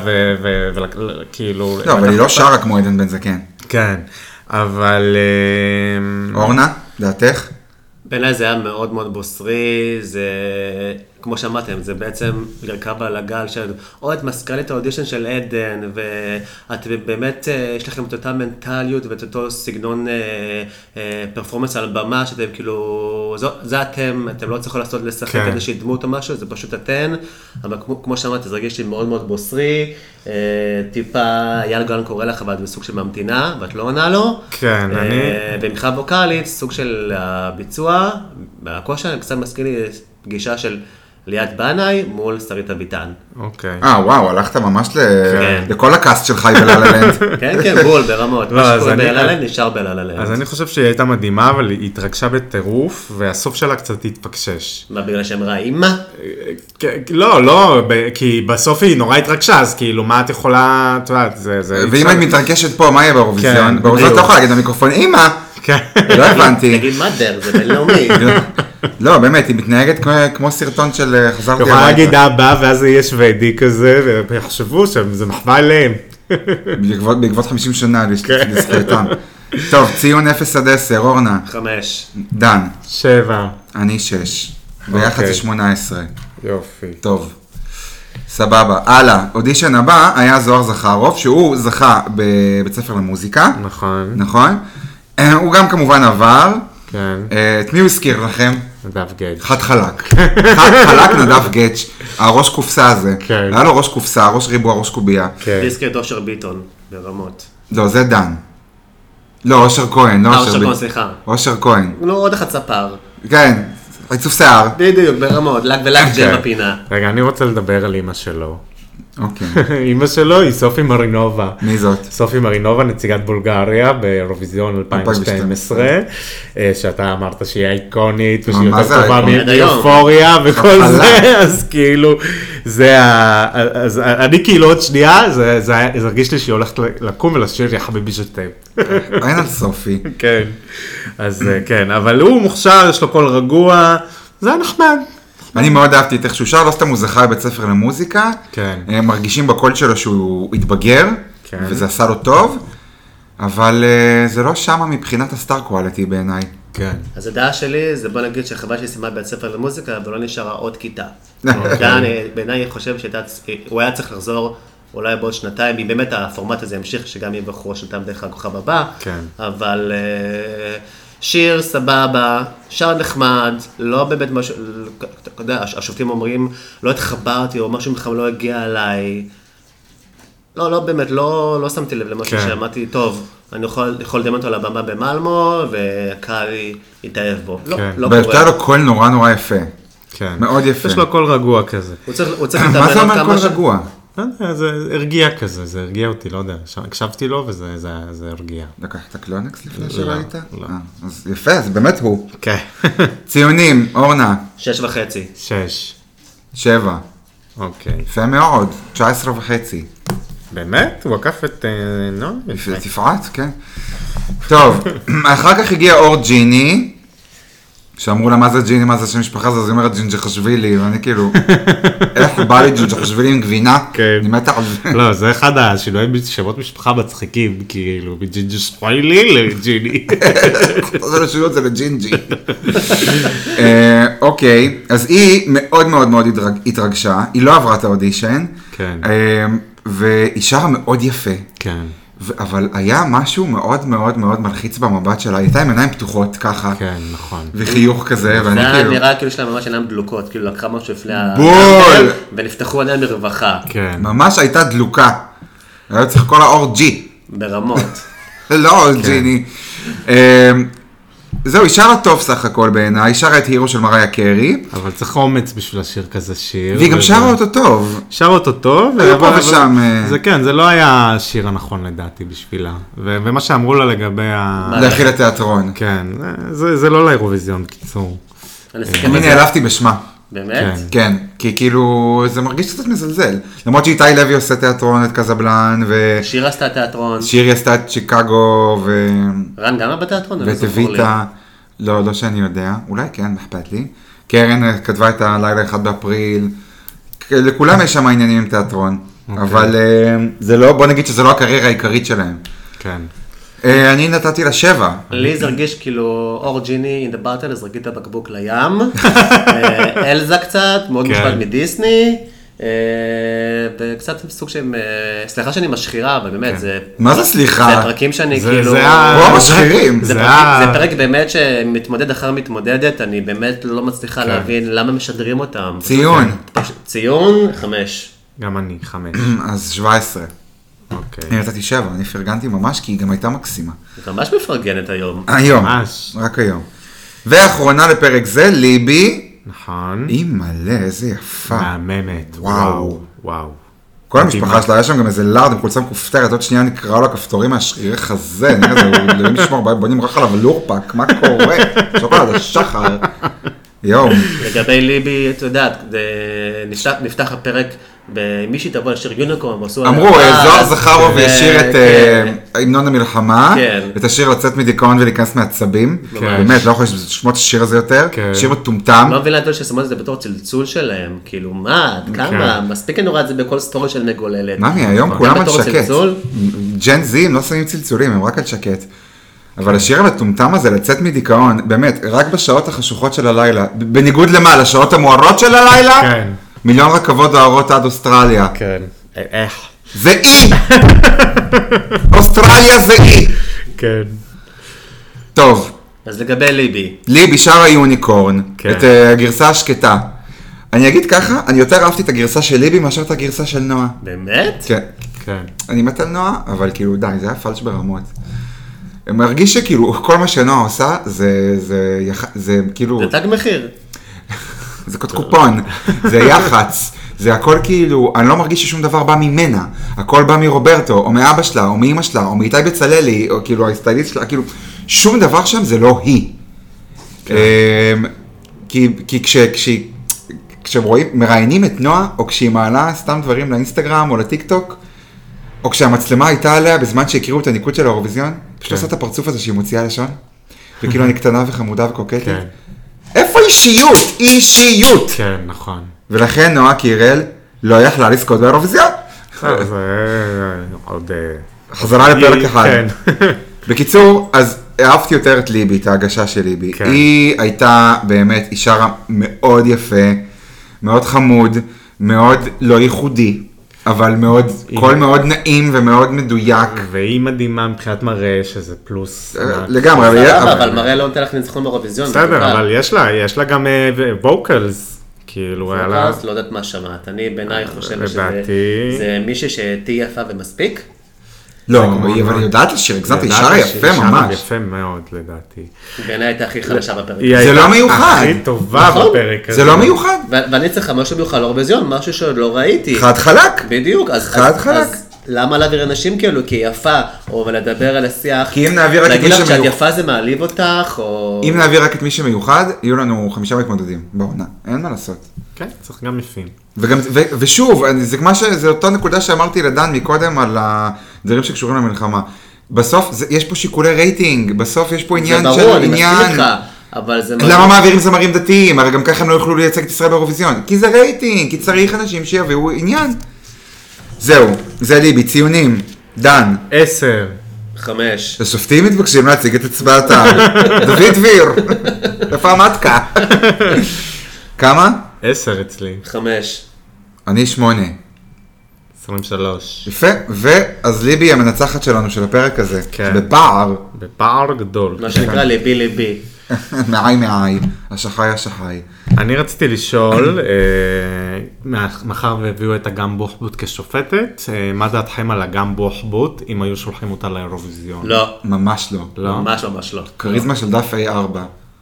D: וכאילו...
A: לא, אבל היא לא שרה כמו עדן בן זקן.
D: כאילו, כן, אבל... אה,
A: אורנה, דעתך?
E: בעיניי זה היה מאוד מאוד בוסרי, זה, כמו שאמרתם, זה בעצם לרכב על הגל של, או את מזכ"לית האודישן של עדן, ואת באמת, אה, יש לכם את אותה מנטליות ואת אותו סגנון אה, אה, פרפורמנס על במה, שאתם כאילו, זו, זה אתם, אתם לא צריכים לעשות לשחק
D: כן.
E: כן. איזושהי דמות או משהו, זה פשוט אתן, אבל כמו, כמו שאמרת, זה הרגיש לי מאוד מאוד בוסרי, אה, טיפה אייל גולן קורא לך, ואת בסוג של ממתינה, ואת לא עונה לו.
D: כן,
E: אה,
D: אני-
E: במחאה ווקאלית, סוג של הביצוע, מהכושר, קצת מזכיר לי פגישה של ליאת בנאי מול שרית אביטן.
D: אוקיי.
A: אה, וואו, הלכת ממש ל-
E: כן.
A: לכל הקאסט של חי וללה-לנד.
E: כן, כן, בול, ברמות.
D: לא,
E: מה
D: אז
E: שקורה
D: אני-
E: בלה-לה-לנד נשאר
A: אה.
E: בלה-לה-לנד.
D: אז אני חושב שהיא הייתה מדהימה, אבל היא התרגשה בטירוף, והסוף שלה קצת התפקשש.
E: מה, בגלל שהם רעים? מה?
D: כן, לא, לא, ב- כי בסוף היא נורא התרגשה, אז כאילו, מה את יכולה, את יודעת, זה... זה-
A: ואם היית מתרגשת פה, מה יהיה
D: כן,
A: באירוויזיון? באירוויזיון את לא
D: בדיוק.
A: יכולה להגיד למיקרופון, אמא,
D: כן.
A: לא הבנתי.
E: תגיד, מה דר? זה בינלאומי.
A: לא, באמת, היא מתנהגת כמו- כמו סרטון של אה,
D: אתה
A: חזרתי
D: יכול להגיד
A: הביתה.
D: אבא, ואז זה יהיה שוודי כזה, ויחשבו שזה מחווה אליהם.
A: בעקבות- בעקבות 50 שנה לש-
D: כן.
A: לזכויותם. טוב, ציון 0 עד 10, אורנה,
E: חמש.
A: דן,
D: שבע.
A: אני 6, ביחד זה
D: אוקיי.
A: 18.
D: יופי.
A: טוב. סבבה, הלאה. אודישן הבא היה זוהר זכרוף, שהוא זכה בבית ספר למוזיקה,
D: נכון.
A: נכון? אה, הוא גם כמובן עבר.
D: כן.
A: אה, את מי הוא הזכיר לכם?
D: נדב גייט.
A: חד חלק. חד חלק נדב גץ', הראש קופסה הזה.
D: כן.
A: היה לו ראש קופסה, ראש ריבוע, ראש קובייה.
D: כן.
E: דיסקר את אושר ביטון, ברמות.
A: לא, זה דן. לא, אושר כהן, לא
E: אה,
A: אושר
E: אושר
A: ביטון.
E: כהן, סליחה.
A: אושר כהן.
E: נו, עוד אחד ספר.
A: כן, עיצוב שיער.
E: בדיוק, ברמות. לק ולק
A: כן.
D: אוקיי.
E: ג'ם בפינה.
D: רגע, אני רוצה לדבר על אימא שלו.
A: אוקיי.
D: אימא שלו היא סופי מרינובה.
A: מי זאת?
D: סופי מרינובה, נציגת בולגריה באירוויזיון 2012, אה, שאתה אמרת שהיא איקונית ושהיא
A: מה זה
D: יותר טובה
A: אייקונית?
E: עד היום.
D: מאופוריה וכל
A: חפלה.
D: זה, אז כאילו, זה ה... אז אני כאילו עוד שנייה, זה זה היה- זה הרגיש לי שהיא הולכת לקום ולשיר יא חביבי שתה.
A: עין על סופי.
D: כן. אז אה, כן, אבל הוא מוכשר, יש לו קול רגוע, זה היה נחמד.
A: אני מאוד אהבתי את איך שהוא שר, לא סתם הוא זכה בבית ספר למוזיקה.
D: כן.
A: אה, מרגישים בקול שלו שהוא התבגר,
D: כן.
A: וזה עשה לו טוב, אבל אה, זה לא שמה מבחינת הסטאר קואליטי בעיניי.
D: כן.
E: אז הדעה שלי זה בוא נגיד שחבל שהיא סיימה בית ספר למוזיקה ולא נשארה עוד כיתה. דן אה, בעיניי חושב שהוא היה צריך לחזור אולי בעוד שנתיים, אם באמת הפורמט הזה ימשיך, שגם יבחרו שנתיים דרך הכוכב הבא,
D: כן.
E: אבל אה, שיר סבבה, שר נחמד, לא באמת משהו, אתה יודע, הש- השופטים אומרים, לא התחברתי, או משהו ממך לא הגיע אליי. לא, לא באמת, לא, לא שמתי לב למשהו
D: כן.
E: שאמרתי, טוב, אני יכול, יכול לדמיין אותו על הבמה במלמו, והקהל יתאהב בו. לא,
D: כן.
E: לא
A: והייתה
E: קורה.
A: לו קול נורא נורא יפה.
D: כן.
A: מאוד יפה.
D: יש לו הכל רגוע כזה.
E: הוא צריך, הוא צריך
A: מה
E: לתמרן
A: זה
E: עוד
A: אומר
E: כמה
A: קול
E: ש-
A: רגוע?
D: לא יודע, זה הרגיע כזה, זה הרגיע אותי, לא יודע. ש- הקשבתי לו וזה זה- זה הרגיע.
A: לקחת קלונקס לפני שראית?
D: לא.
A: אה, אז יפה, זה באמת הוא.
D: כן.
A: ציונים, אורנה,
E: שש וחצי.
D: שש.
A: שבע.
D: אוקיי.
A: יפה מאוד, 19 וחצי.
D: באמת? הוא עקף את אה, נעמי.
A: יפה, תפעט, כן. טוב, אחר כך הגיע אור ג'יני, שאמרו לה מה זה ג'יני, מה זה שם משפחה הזאת, אז היא אומרת ג'ינג'חשווילי, ואני כאילו, איך בא לי ג'ינג'חשווילי עם גבינה?
D: כן.
A: אני מתה על זה.
D: לא, זה אחד השינויים בשמות משפחה מצחיקים, כאילו, מג'ינג'י שפיילי לג'יני.
A: אז הרשויות זה לג'ינג'י. אה, אוקיי, אז היא מאוד מאוד מאוד התרג- התרגשה, היא לא עברה את האודישן,
D: כן.
A: אה, והיא שרה מאוד יפה,
D: כן,
A: ו- אבל היה משהו מאוד מאוד מאוד מלחיץ במבט שלה, היא הייתה עם עיניים פתוחות ככה,
D: כן, נכון.
A: וחיוך כזה,
E: זה
A: ואני
E: היה
A: כאילו,
E: נראה כאילו יש להם ממש עיניים דלוקות, כאילו לקחה משהו לפני ה...
A: בול!
E: ונפתחו עיניים ברווחה,
D: כן.
A: ממש הייתה דלוקה. היה צריך לקרוא לה אור ג'י,
E: ברמות.
A: לא
E: כן.
A: אור ג'יני. אה, זהו, היא שרה טוב סך הכל בעיניי, היא שרה את הירו של מריה קרי,
D: אבל צריך אומץ בשביל לשיר כזה שיר.
A: והיא
E: אה.
A: גם
D: וזה-
A: שרה אותו טוב.
D: שר אותו טוב,
A: היו פה
D: אבל-
A: ושם, אה.
D: זה כן, זה לא היה השיר הנכון לדעתי בשבילה. ו- ומה שאמרו לה לגבי ה...
A: להכיל את תיאטרון.
D: כן, זה- זה לא לאירוויזיון, בקיצור.
E: אני אסכם
A: אני
E: את זה,
A: נעלבתי בשמה.
E: באמת?
D: כן.
A: כן, כי כאילו זה מרגיש קצת מזלזל. למרות שאיתי לוי עושה תיאטרון את קזבלן,
E: שיר עשתה תיאטרון,
A: ושירי עשתה את שיקגו, ו...
E: רן גם היה בתיאטרון? אני לא
A: ואת
E: זוכר
A: אביטה. לא, לא שאני יודע, אולי כן, מה אכפת לי. קרן אה, כתבה את הלילה 1 באפריל. כ- לכולם יש שם עניינים עם תיאטרון.
D: אוקיי.
A: אבל אה, זה לא, בוא נגיד שזה לא הקריירה העיקרית שלהם.
D: כן.
A: אה, אני נתתי לה שבע.
E: לי. לי זה הרגיש כאילו אור ג'יני אין דה באטל, אז רגיל את הבקבוק לים, אה, אלזה קצת, מאוד
D: כן.
E: מושפעת מדיסני, אה, וקצת סוג של, אה, סליחה שאני משחירה, אבל באמת, זה...
A: מה זה סליחה?
E: זה הפרקים שאני
D: זה-
E: כאילו...
D: זה ה-
A: וואו,
D: זה-
A: משחירים.
E: זה
D: זה
E: פרק,
D: ה-
E: זה פרק באמת שמתמודד אחר מתמודדת, אני באמת לא מצליחה להבין למה משדרים אותם.
A: ציון.
E: פשוט- ציון חמש.
D: גם אני, חמש.
A: אז 17. אני
D: אוקיי.
A: נתתי שבע, אני פרגנתי ממש כי היא גם הייתה מקסימה.
E: היא ממש מפרגנת היום.
A: היום,
D: ממש.
A: רק היום. ואחרונה לפרק זה, ליבי,
D: נכון.
A: היא מלא, איזה יפה.
D: מהממת.
A: וואו.
D: וואו. וואו.
A: כל
D: מדהימה.
A: המשפחה שלה, היה שם גם איזה לארד עם חולצה מכופתרת, עוד שנייה נקרע לו הכפתורים מהשרירי חזה, נראה איזה, הוא- אלוהים ישמור, בוא- בוא נמרח עליו לורפק, מה קורה? שוקולד השחר. יואו,
E: לגבי ליבי, את יודעת, זה- נפתח, נפתח הפרק במישהי תבוא לשיר יוניקורן, ועשו... עליה
A: אמרו, אה,
E: פאז,
A: זוהר זכרוב
E: ו-
A: ישיר את
E: כן.
A: אה, המנון המלחמה,
E: כן.
A: את השיר לצאת מדיכאון ולהיכנס מעצבים, באמת, לא יכול לשמוע את השיר הזה יותר,
D: כן.
A: שיר מטומטם.
E: לא מבין לדעת ששמו את זה בתור צלצול שלהם, כאילו מה, עד כמה, מספיק אני רואה את זה בכל סטורי של מגוללת.
A: ממי, כן. היום
E: אה, גם
A: כולם על
E: בתור
A: שקט.
E: צלצול?
A: ג'ן זי, הם לא שמים צלצולים, הם רק על שקט. אבל השיר המטומטם הזה, לצאת מדיכאון, באמת, רק בשעות החשוכות של הלילה, ב- בניגוד למה, לשעות המוארות של הלילה?
D: כן.
A: מיליון רכבות דוהרות עד אוסטרליה.
D: כן. איך?
A: זה אי! אוסטרליה זה אי!
D: כן.
A: טוב,
E: אז לגבי ליבי,
A: ליבי שר היוניקורן,
D: כן.
A: את אה, הגרסה השקטה. אני אגיד ככה, אני יותר אהבתי את הגרסה של ליבי מאשר את הגרסה של נועה.
E: באמת?
A: כן.
D: כן.
A: אני מת על נועה, אבל כאילו די, זה היה פלש ברמות. מרגיש שכאילו כל מה שנועה עושה זה, זה, יח... זה כאילו,
E: זה תג מחיר.
A: זה קוד קופון, זה יח"צ, זה הכל כאילו, אני לא מרגיש ששום דבר בא ממנה, הכל בא מרוברטו, או מאבא שלה, או מאימא שלה, או מאיתי בצללי, או כאילו הסטייליסט שלה, כאילו, שום דבר שם זה לא היא. אמ, כי, כי כש, כש, כשהם רואים, מראיינים את נועה, או כשהיא מעלה סתם דברים לאינסטגרם או לטיק טוק, או כשהמצלמה הייתה עליה בזמן שהקריאו את הניקוד של האירוויזיון, פשוט עושה את הפרצוף הזה שהיא מוציאה לשון, וכאילו אני קטנה וחמודה וקוקטית.
D: כן.
A: איפה אישיות? אישיות!
D: כן, נכון.
A: ולכן נועה קירל לא יכלה לזכות באירוויזיון. אה.
D: טוב, זה עוד... אה,
A: חזרה לפרק
D: היא-
A: אחד.
D: כן.
A: בקיצור, אז אהבתי יותר את ליבי, את ההגשה של ליבי.
D: כן.
A: היא הייתה באמת, היא שרה מאוד יפה, מאוד חמוד, מאוד לא ייחודי. אבל מאוד, קול מאוד נעים ומאוד מדויק.
D: והיא מדהימה מבחינת מראה, שזה פלוס.
A: אה,
D: ענק.
A: לגמרי, אבל יהיה-
E: סבבה,
A: אבל-
E: אבל מראה לא נותן לך ניצחון באירוויזיון.
D: בסדר, אבל יש לה, יש לה גם ווקלס. כאילו, היה לה...
E: לא יודעת מה שמעת, אני בעיניי חושב
D: אה, לדעתי-
E: שזה זה מישהי שתהיה יפה ומספיק.
A: לא,
D: כמו-
A: אבל היא יודעת לשיר, הגזמתי, היא
D: לדעתי
A: שרה
D: שהיא
A: יפה
D: שרה
A: ממש.
D: יפה מאוד, לדעתי.
E: בעיניי הייתה הכי חלשה בפרק.
D: היא
A: זה
D: הייתה
A: לא מיוחד.
D: הכי טובה
E: נכון.
D: בפרק הזה.
A: זה לא מיוחד,
E: ו- ואני צריכה משהו מיוחד לאירוויזיון, משהו שעוד לא ראיתי.
A: חד חלק.
E: בדיוק, אז...
A: חד
E: אז-
A: חלק.
E: אז למה להעביר אנשים כאילו כי היא יפה, או לדבר על השיח?
A: כי אם נעביר רק את
E: להגיד
A: מי
E: לך שאת
A: שמיוחד-
E: יפה זה מעליב אותך, או...
A: אם נעביר רק את מי שמיוחד, יהיו לנו חמישה מתמודדים בעונה, אין מה לעשות.
D: כן, צריך גם יפים.
A: וגם, ו, ושוב, אני, זה כמו ש... זה אותה נקודה שאמרתי לדן מקודם על הדברים שקשורים למלחמה. בסוף זה, יש פה שיקולי רייטינג, בסוף יש פה עניין
E: זה
A: של
E: ברור, אני מסכים
A: עניין.
E: איתך, אבל זה...
A: למה מעבירים זמרים דתיים? הרי גם ככה הם לא יוכלו לייצג את ישראל באירוויזיון. כי זה רייטינג, כי צריך אנשים שיביאו עניין. זהו, זה ליבי, ציונים. דן,
D: עשר.
E: חמש.
A: השופטים מתבקשים להציג את הצבעתם. דוד דביר, איפה המטקה? כמה?
D: עשר אצלי.
E: חמש.
A: אני שמונה.
D: 23.
A: יפה, ואז ליבי היא המנצחת שלנו של הפרק הזה,
D: כן.
A: בפער,
D: בפער גדול.
E: מה שנקרא ליבי ליבי.
A: מעי מעי, השחי השחי.
D: אני רציתי לשאול, אה, מאח- מאחר והביאו את אגם בוחבוט כשופטת, אה, מה דעתכם על אגם בוחבוט אם היו שולחים אותה לאירוויזיון?
E: לא.
A: ממש לא. כן.
D: לא?
E: ממש ממש לא.
A: כריזמה של דף A4,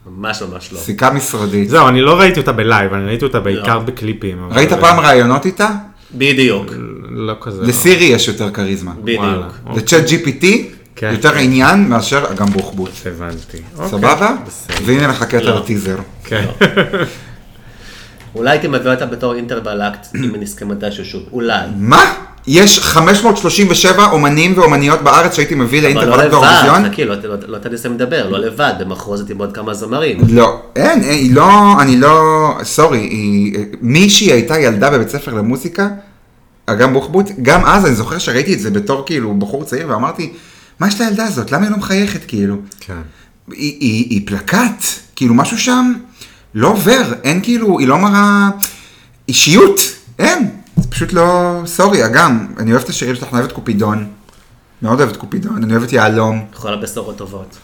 E: ממש ממש לא.
A: סיכה משרדית.
D: זהו, אני לא ראיתי אותה בלייב, אני ראיתי אותה בעיקר בקליפים. אבל-
A: ראית פעם ראיונות איתה?
E: בדיוק.
D: לא כזה. לא.
A: לסירי יש יותר כריזמה.
D: וואלה,
E: בדיוק.
D: אוקיי,
A: לצ'אט GPT
D: כן.
A: יותר עניין מאשר אגם בוחבוט.
D: הבנתי.
A: סבבה?
D: בסדר.
A: והנה לך קטע
E: לא.
A: לטיזר.
D: כן.
E: אולי הייתי מביא אותה בתור אינטרוול אקט אם אני אסכים מתישהו שוב. אולי.
A: מה? יש 537 אומנים ואומניות בארץ שהייתי מביא
E: אבל לא
A: לאינטרנט
E: לבד,
A: באירוויזיון?
E: חכי, לא- לא לא תנסה לדבר, לא לבד, במחוז הייתי בעוד כמה זמרים.
A: לא, אין, אין, היא לא, אני לא, סורי, היא, מישהי הייתה ילדה בבית ספר למוזיקה, אגם בוחבוט, גם אז אני זוכר שראיתי את זה בתור כאילו בחור צעיר ואמרתי, מה יש לילדה הזאת, למה היא לא מחייכת כאילו?
D: כן.
A: היא, היא, היא פלקט, כאילו משהו שם לא עובר, אין כאילו, היא לא מראה אישיות, אין, זה פשוט לא, סורי, אגם, אני אוהב את השירים שלך, אני אוהב את קופידון, מאוד אוהב את קופידון, אני אוהב את יהלום,
E: כל הבשורות טובות.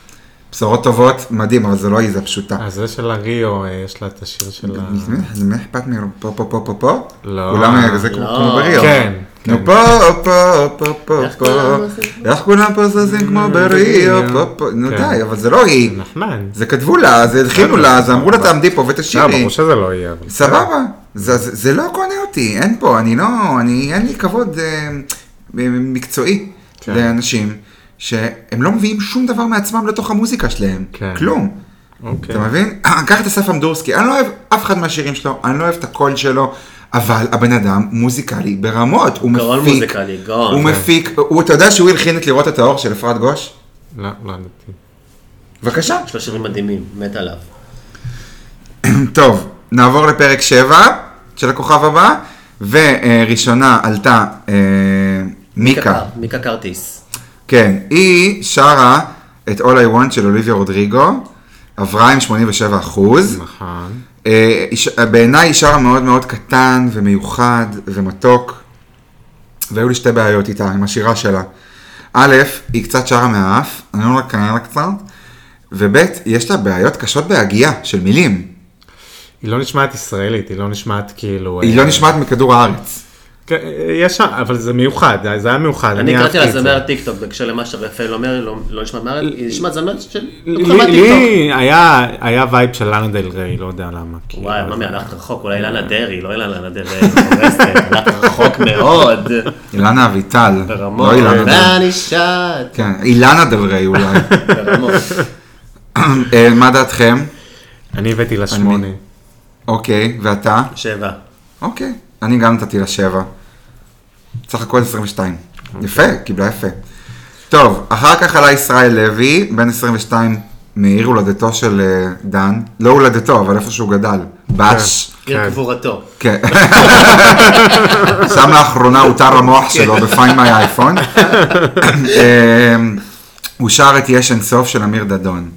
A: בשורות טובות, מדהים, אבל זה לא היא, זה פשוטה.
D: אז זה של הריו, אה, יש לה את השיר של ה...
A: למי אכפת מי פה פה פה פה פה?
D: לא.
A: כולם זה כמו
E: לא.
A: כמו בריו.
D: כן,
A: נו
D: כן.
A: פה פה פה פה פה. איך כולם פה זזים כמו בריו פה פה. נו
D: Mm, כן.
A: די, אבל זה לא היא.
D: נחמן.
A: זה כתבו לה, זה הלחינו לה, זה אמרו לה
D: סבבה.
A: תעמדי פה
D: לא,
A: ותשירי.
D: ברור שזה לא יהיה, אבל...
A: סבבה. זה- זה זה לא קונה אותי, אין פה, אני לא, אני, אין לי כבוד אה, מ- מקצועי
D: כן.
A: לאנשים שהם לא מביאים שום דבר מעצמם לתוך המוזיקה שלהם.
D: כן.
A: כלום.
D: אוקיי.
A: אתה מבין? קח את אסף עמדורסקי, אני לא אוהב אף אחד מהשירים שלו, אני לא אוהב את הקול שלו, אבל הבן אדם מוזיקלי ברמות, הוא
E: גאון
A: מפיק,
E: מוזיקלי, גאון.
D: כן.
A: הוא מפיק, הוא, אתה יודע שהוא הלחין את לראות את האור של אפרת גוש?
D: לא, לא ידעתי.
A: בבקשה.
E: יש לו שירים מדהימים, מת עליו.
A: טוב, נעבור לפרק 7 של הכוכב הבא, וראשונה עלתה אה, מיקה.
E: קר- מיקה כרטיס.
A: כן, היא שרה את All I Want של אוליביה רודריגו, עברה עם 87 אחוז.
D: נכון.
A: אה, איש- בעיניי היא שרה מאוד מאוד קטן ומיוחד ומתוק, והיו לי שתי בעיות איתה, עם השירה שלה. א', היא קצת שרה מהאף, אני לא מקנא לה קצת, וב', יש לה בעיות קשות בהגייה של מילים.
D: היא לא נשמעת ישראלית, היא לא נשמעת כאילו...
A: היא
D: אה,
A: לא נשמעת מכדור הארץ.
D: כן, אה, יש שם, אבל זה מיוחד, אה, זה היה מיוחד.
E: אני קראתי לה
D: אהבתי את זה.
E: זמר טיקטוק בהקשר למה שרפאל אומר, לא- לא נשמע מהארץ, היא נשמעת זמר של...
D: לי לי היה היה וייב של לאנה דל ריי, לא יודע למה. כאילו,
E: וואי,
D: אז-
E: ממי, הלכת רחוק, אולי אילנה דרעי, לא אילנה דרעי, הורסת, הלכת רחוק מאוד,
D: לא
A: אילנה אביטל,
E: ברמות,
A: לא אילנה דל
E: ואני שט,
A: כן, אילנה דל ריי אולי.
E: ברמות.
A: אה, מה דעתכם?
D: אני הבאתי לה שמונה.
A: אוקיי, ואתה?
E: שבע.
A: אוקיי, אני גם נתתי לה שבע. סך הכל 22. יפה, קיבלה יפה. טוב, אחר כך עלה ישראל לוי, בן 22 מעיר הולדתו של אה, דן. לא הולדתו, אבל איפה שהוא גדל. בש.
E: עיר
D: כן.
E: קבורתו.
A: כן. שם לאחרונה הותר המוח
D: כן.
A: שלו ב-Find My iPhone. אמ, הוא שר את יש אין סוף של אמיר דדון.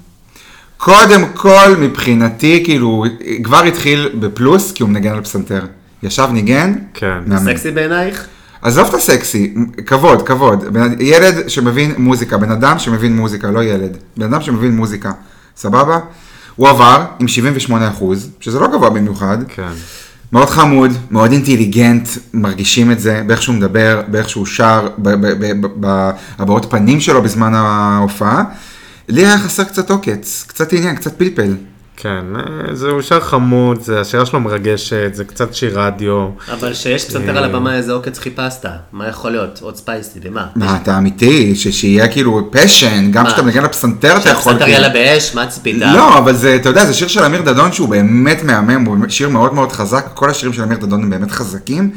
A: קודם כל, מבחינתי, כאילו, כבר התחיל בפלוס, כי הוא מנגן על פסנתר. ישב, ניגן,
D: כן.
A: מהמם.
E: סקסי בעינייך?
A: עזוב את הסקסי, כבוד, כבוד. בן- ילד שמבין מוזיקה, בן אדם שמבין מוזיקה, לא ילד. בן אדם שמבין מוזיקה, סבבה? הוא עבר עם 78 אחוז, שזה לא גבוה במיוחד.
D: כן.
A: מאוד חמוד, מאוד אינטליגנט, מרגישים את זה, באיך שהוא מדבר, באיך שהוא שר, ב- ב- ב- ב- בהבעות פנים שלו בזמן ההופעה. לי היה חסר קצת עוקץ, קצת עניין, קצת פלפל.
D: כן, אה, זהו שיר חמוד, זה- השירה שלו מרגשת, זה קצת שיר רדיו.
E: אבל שיש פסנתר
D: אה.
E: על הבמה איזה עוקץ חיפשת, מה יכול להיות? עוד ספייסי, למה?
A: מה, אתה אמיתי? ש- שיהיה כאילו פשן, גם
E: מה?
A: כשאתה מנגן לפסנתר אתה יכול...
D: כן?
E: שהפסנתר
A: כאילו-
E: יאללה באש, מה צפית?
A: לא, אבל זה, אתה יודע, זה שיר של אמיר דדון שהוא באמת מהמם, הוא באמת שיר מאוד מאוד חזק, כל השירים של אמיר דדון הם באמת חזקים,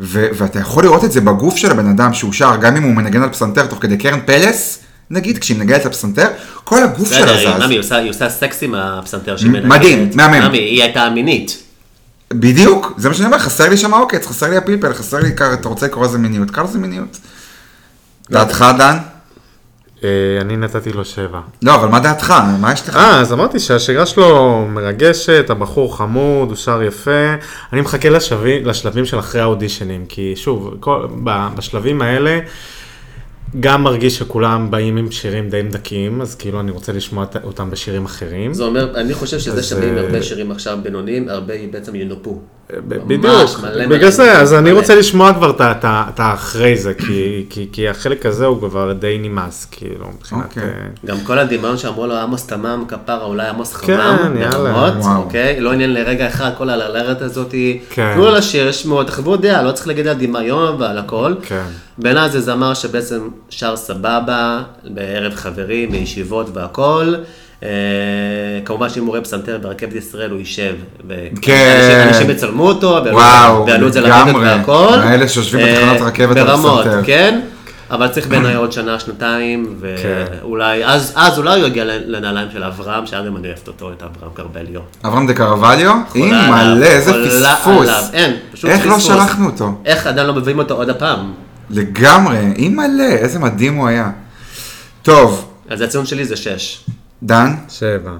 A: ו- ואתה יכול לראות את זה בגוף של הבן אדם שהוא שר, גם אם הוא מנגן על פסנתר תוך כדי קרן פלס, נגיד, כשהיא מנגנת על פסנתר, כל הגוף שלה
E: בסדר, היא-
A: זז.
E: ממי, היא עושה- היא עושה סקס עם הפסנתר שהיא מנגנת.
A: מדהים, מהמם.
E: ממי, היא הייתה מינית.
A: בדיוק, זה מה שאני אומר, חסר לי שם העוקץ, חסר לי הפלפל, חסר לי, קר- אתה רוצה לקרוא לזה מיניות, קרא לזה מיניות.
E: לא
A: דעתך, דן?
D: אה, אני נתתי לו שבע.
A: לא, אבל מה דעתך? מה יש לך?
D: אה, אז אמרתי שהשירה שלו מרגשת, הבחור חמוד, הוא שר יפה. אני מחכה לשבי, לשלבים של אחרי האודישנים, כי שוב, כל, ב, בשלבים האלה גם מרגיש שכולם באים עם שירים די מדכאים, אז כאילו אני רוצה לשמוע את- אותם בשירים אחרים.
E: זה אומר, אני חושב שזה
D: אז,
E: שווים
D: אה,
E: הרבה שירים עכשיו בינוניים, הרבה בעצם ינופו.
D: בדיוק,
E: מלא מלא
D: בגלל זה, אז אני
E: מלא.
D: רוצה לשמוע כבר את ה- את ה- את האחרי זה, כי- כי- כי החלק הזה הוא כבר די נמאס, כאילו, מבחינת...
A: אוקיי.
D: אה,
E: גם כל הדמיון שאמרו לו עמוס תמם כפרה, אולי עמוס חמם,
D: כן, יאללה.
E: ברמות,
A: וואו.
E: אוקיי? לא עניין לרגע אחד, כל הלרלרת הזאת,
D: כן.
E: תנו לו לשיר, שמעו, תחוו דעה, לא צריך להגיד על דמיון ועל הכל.
D: כן.
E: בעיניי זה זמר שבעצם שר סבבה, בערב חברים, בישיבות והכל. אה, כמובן שאם הוא רואה פסנתר ברכבת ישראל הוא יישב. ו-
A: כן.
E: אנשים- אנשים יצלמו אותו, ויעלו-
A: וואו,
E: ויעלו את זה לרדת
A: לגמרי.
E: והכל.
A: האלה שיושבים בתחנות
E: אה,
A: רכבת על
E: ברמות,
A: פסנתר.
E: כן. אבל צריך בעיניי עוד שנה, שנתיים,
D: כן.
E: ואולי, אז, אז אולי הוא יגיע לנעליים של אברהם, שאז גם אני אוהבת אותו, את אברהם גרבליו.
A: אברהם דה קרווליו?
E: עולה
A: היא מלא,
E: עליו,
A: איזה
E: עולה
A: פספוס.
E: עליו, אין, פשוט
A: איך לא
E: פספוס.
A: שלחנו אותו?
E: איך עדיין לא מביאים אותו עוד הפעם?
A: לגמרי, אי מלא, איזה מדהים הוא היה. טוב,
E: אז הציון שלי זה 6.
A: אה, דן,
D: שבע.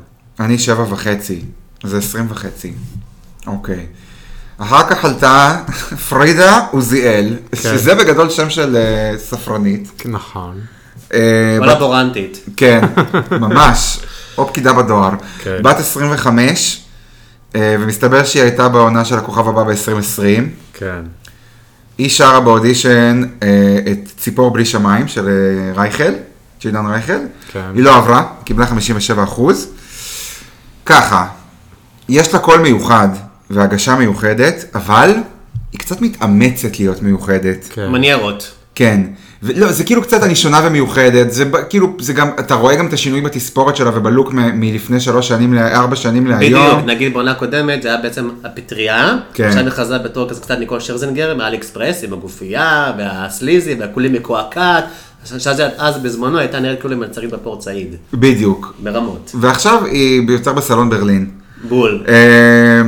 A: אני שבע וחצי, זה עשרים וחצי. אוקיי. אחר כך עלתה פרידה עוזיאל, שזה בגדול שם של אה, ספרנית.
D: נכון.
A: אה, בת-
E: קולבורנטית.
A: כן, ממש, או פקידה בדואר.
D: כן.
A: בת 25, אה, ומסתבר שהיא הייתה בעונה של הכוכב הבא ב-2020.
D: כן.
A: היא שרה באודישן אה, את ציפור בלי שמיים של אה, רייכל, של עידן רייכל.
D: כן.
A: היא לא עברה, קיבלה 57 אחוז. ככה, יש לה קול מיוחד והגשה מיוחדת, אבל היא קצת מתאמצת להיות מיוחדת.
D: כן.
E: מניירות.
A: כן. ולא, זה כאילו קצת אני שונה ומיוחדת, זה ב- כאילו, זה גם, אתה רואה גם את השינוי בתספורת שלה ובלוק מ- מלפני שלוש שנים, ל- ארבע שנים להיום.
E: בדיוק, נגיד בעונה הקודמת זה היה בעצם הפטריה,
A: כן.
E: עכשיו היא חזרה בתור כזה קצת ניקול שרזנגר מהאלי אקספרס עם הגופייה והסליזי והכולי מקועקעת, אז- אז- אז בזמנו הייתה נראית כאילו מלצרית בפורט סעיד,
A: בדיוק.
E: ברמות,
A: ועכשיו היא יותר בסלון ברלין.
E: בול.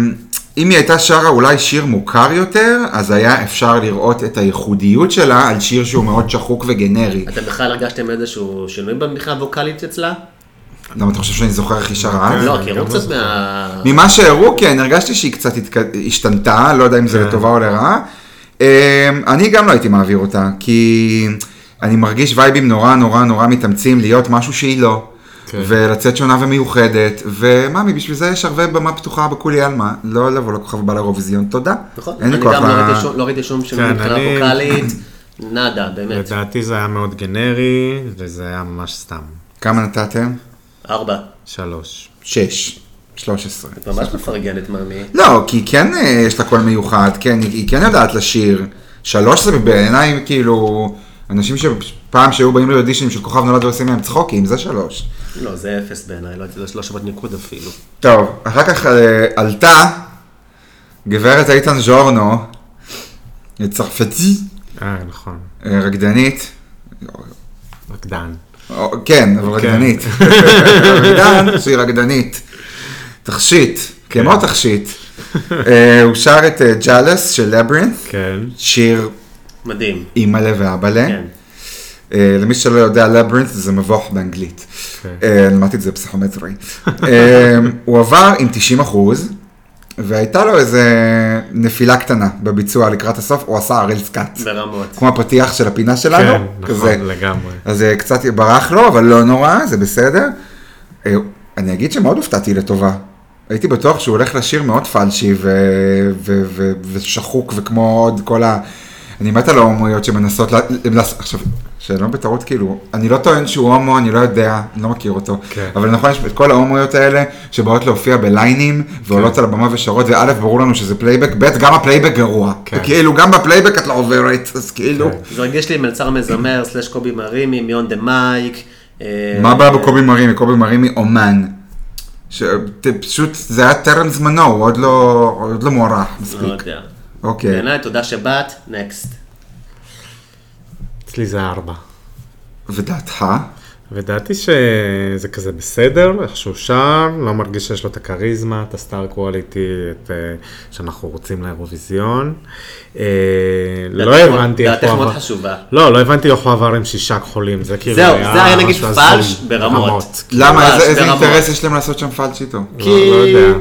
A: אמ, אם היא הייתה שרה אולי שיר מוכר יותר, אז היה אפשר לראות את הייחודיות שלה על שיר שהוא מאוד שחוק וגנרי.
E: אתם בכלל הרגשתם איזשהו שינוי במדיחה הווקאלית אצלה?
A: למה אתה חושב שאני זוכר איך היא שרה? אז?
E: לא,
D: אני
E: כי הראו
D: גם
E: קצת
D: לא
E: מה...
A: ממה שהראו, כן, הרגשתי שהיא קצת התק- השתנתה, לא יודע אם זה לטובה או לרעה. אמ, אני גם לא הייתי מעביר אותה, כי אני מרגיש וייבים נורא נורא נורא מתאמצים להיות משהו שהיא לא.
D: כן.
A: ולצאת שונה ומיוחדת, ומאמי, בשביל זה יש הרבה במה פתוחה בכולי עלמא, לא לבוא לכוכב הבא לאירוויזיון, תודה.
E: נכון,
A: אין לי
E: אני
A: כוח
E: גם לא
A: ל-
E: ראיתי שום- לא ראיתי שום שינוי
D: כן,
E: מבחינה
D: אני-
E: ווקאלית, נאדה, באמת.
D: לדעתי זה היה מאוד גנרי, וזה היה ממש סתם.
A: כמה נתתם?
E: ארבע.
D: שלוש.
A: שש. שלוש עשרה.
E: את ממש מפרגנת, מאמי.
A: לא, כי כן אה, יש לה קול מיוחד, כן, היא- היא כן יודעת לשיר. שלוש זה בעיניי כאילו, אנשים שפעם שהיו באים לאודישנים של כוכב נולד ועושים להם צחוקים, זה שלוש.
E: לא, זה אפס בעיניי, לא- זה לא שוות ניקוד אפילו.
A: טוב, אחר כך אה, עלתה גברת איתן ז'ורנו, צרפתי,
D: אה, נכון.
A: אה, רקדנית,
D: רקדן.
A: או, כן, אבל
D: כן.
A: רקדנית. רקדן שהיא רקדנית. תכשיט,
D: כן.
A: כמו תכשיט. אה, הוא שר את ג'אלס של לברינט,
D: כן.
A: שיר
E: מדהים.
A: אימא'לה ואבאלה.
E: כן.
A: אה, למי שלא יודע, לברינט זה מבוך באנגלית.
D: כן.
A: אה, למדתי את זה בפסיכומטרי. אה, הוא עבר עם 90 אחוז, והייתה לו איזה נפילה קטנה בביצוע לקראת הסוף, הוא עשה אריל סקאט.
E: ברמות.
A: כמו הפתיח של הפינה שלנו,
D: כן, נכון,
A: כזה.
D: לגמרי.
A: אז אה, קצת ברח לו, אבל לא נורא, זה בסדר. אה, אני אגיד שמאוד הופתעתי לטובה. הייתי בטוח שהוא הולך לשיר מאוד פלשי ו- ו- ו- ושחוק וכמו עוד כל ה... אני מת על ההומואיות שמנסות, לה- לה- עכשיו, שלא בטעות כאילו, אני לא טוען שהוא הומו, אני לא יודע, אני לא מכיר אותו,
D: כן.
A: אבל נכון, יש את כל ההומואיות האלה שבאות להופיע בליינים
D: כן.
A: ועולות על הבמה ושרות, וא', ברור לנו שזה פלייבק, ב', גם הפלייבק גרוע,
D: כן.
A: כאילו גם בפלייבק את לא עוברת, אז כאילו,
E: זה הרגיש לי מלצר מזמר, סלאש קובי מרימי, מיון דה מייק. אה,
A: מה הבעיה בקובי מרימי? קובי מרימי אומן. ש- ת- פשוט זה היה טרם זמנו, הוא עוד לא, עוד לא מוערך
E: לא
A: מספיק.
E: יודע.
A: אוקיי.
E: בעיניי, תודה שבאת, נקסט.
D: אצלי זה ארבע.
A: ודעתך?
D: ודעתי שזה כזה בסדר, איך שהוא שר, לא מרגיש שיש לו את הכריזמה, את הסטאר קואליטי, את אה, שאנחנו רוצים לאירוויזיון. אה, לא
E: דעתך מאוד-
D: הבנתי איך
E: דעתך
D: הוא עבר.
E: מאוד חשובה.
D: לא, לא הבנתי איך הוא עבר עם שישה כחולים, זה כאילו
E: זהו, זה היה נגיד
D: משהו
E: פלש
D: הזוי.
E: ברמות.
A: למה?
E: ממש,
A: איזה, איזה
E: ברמות.
A: אינטרס יש להם לעשות שם פלצ' איתו?
D: לא, לא יודע.
E: אה,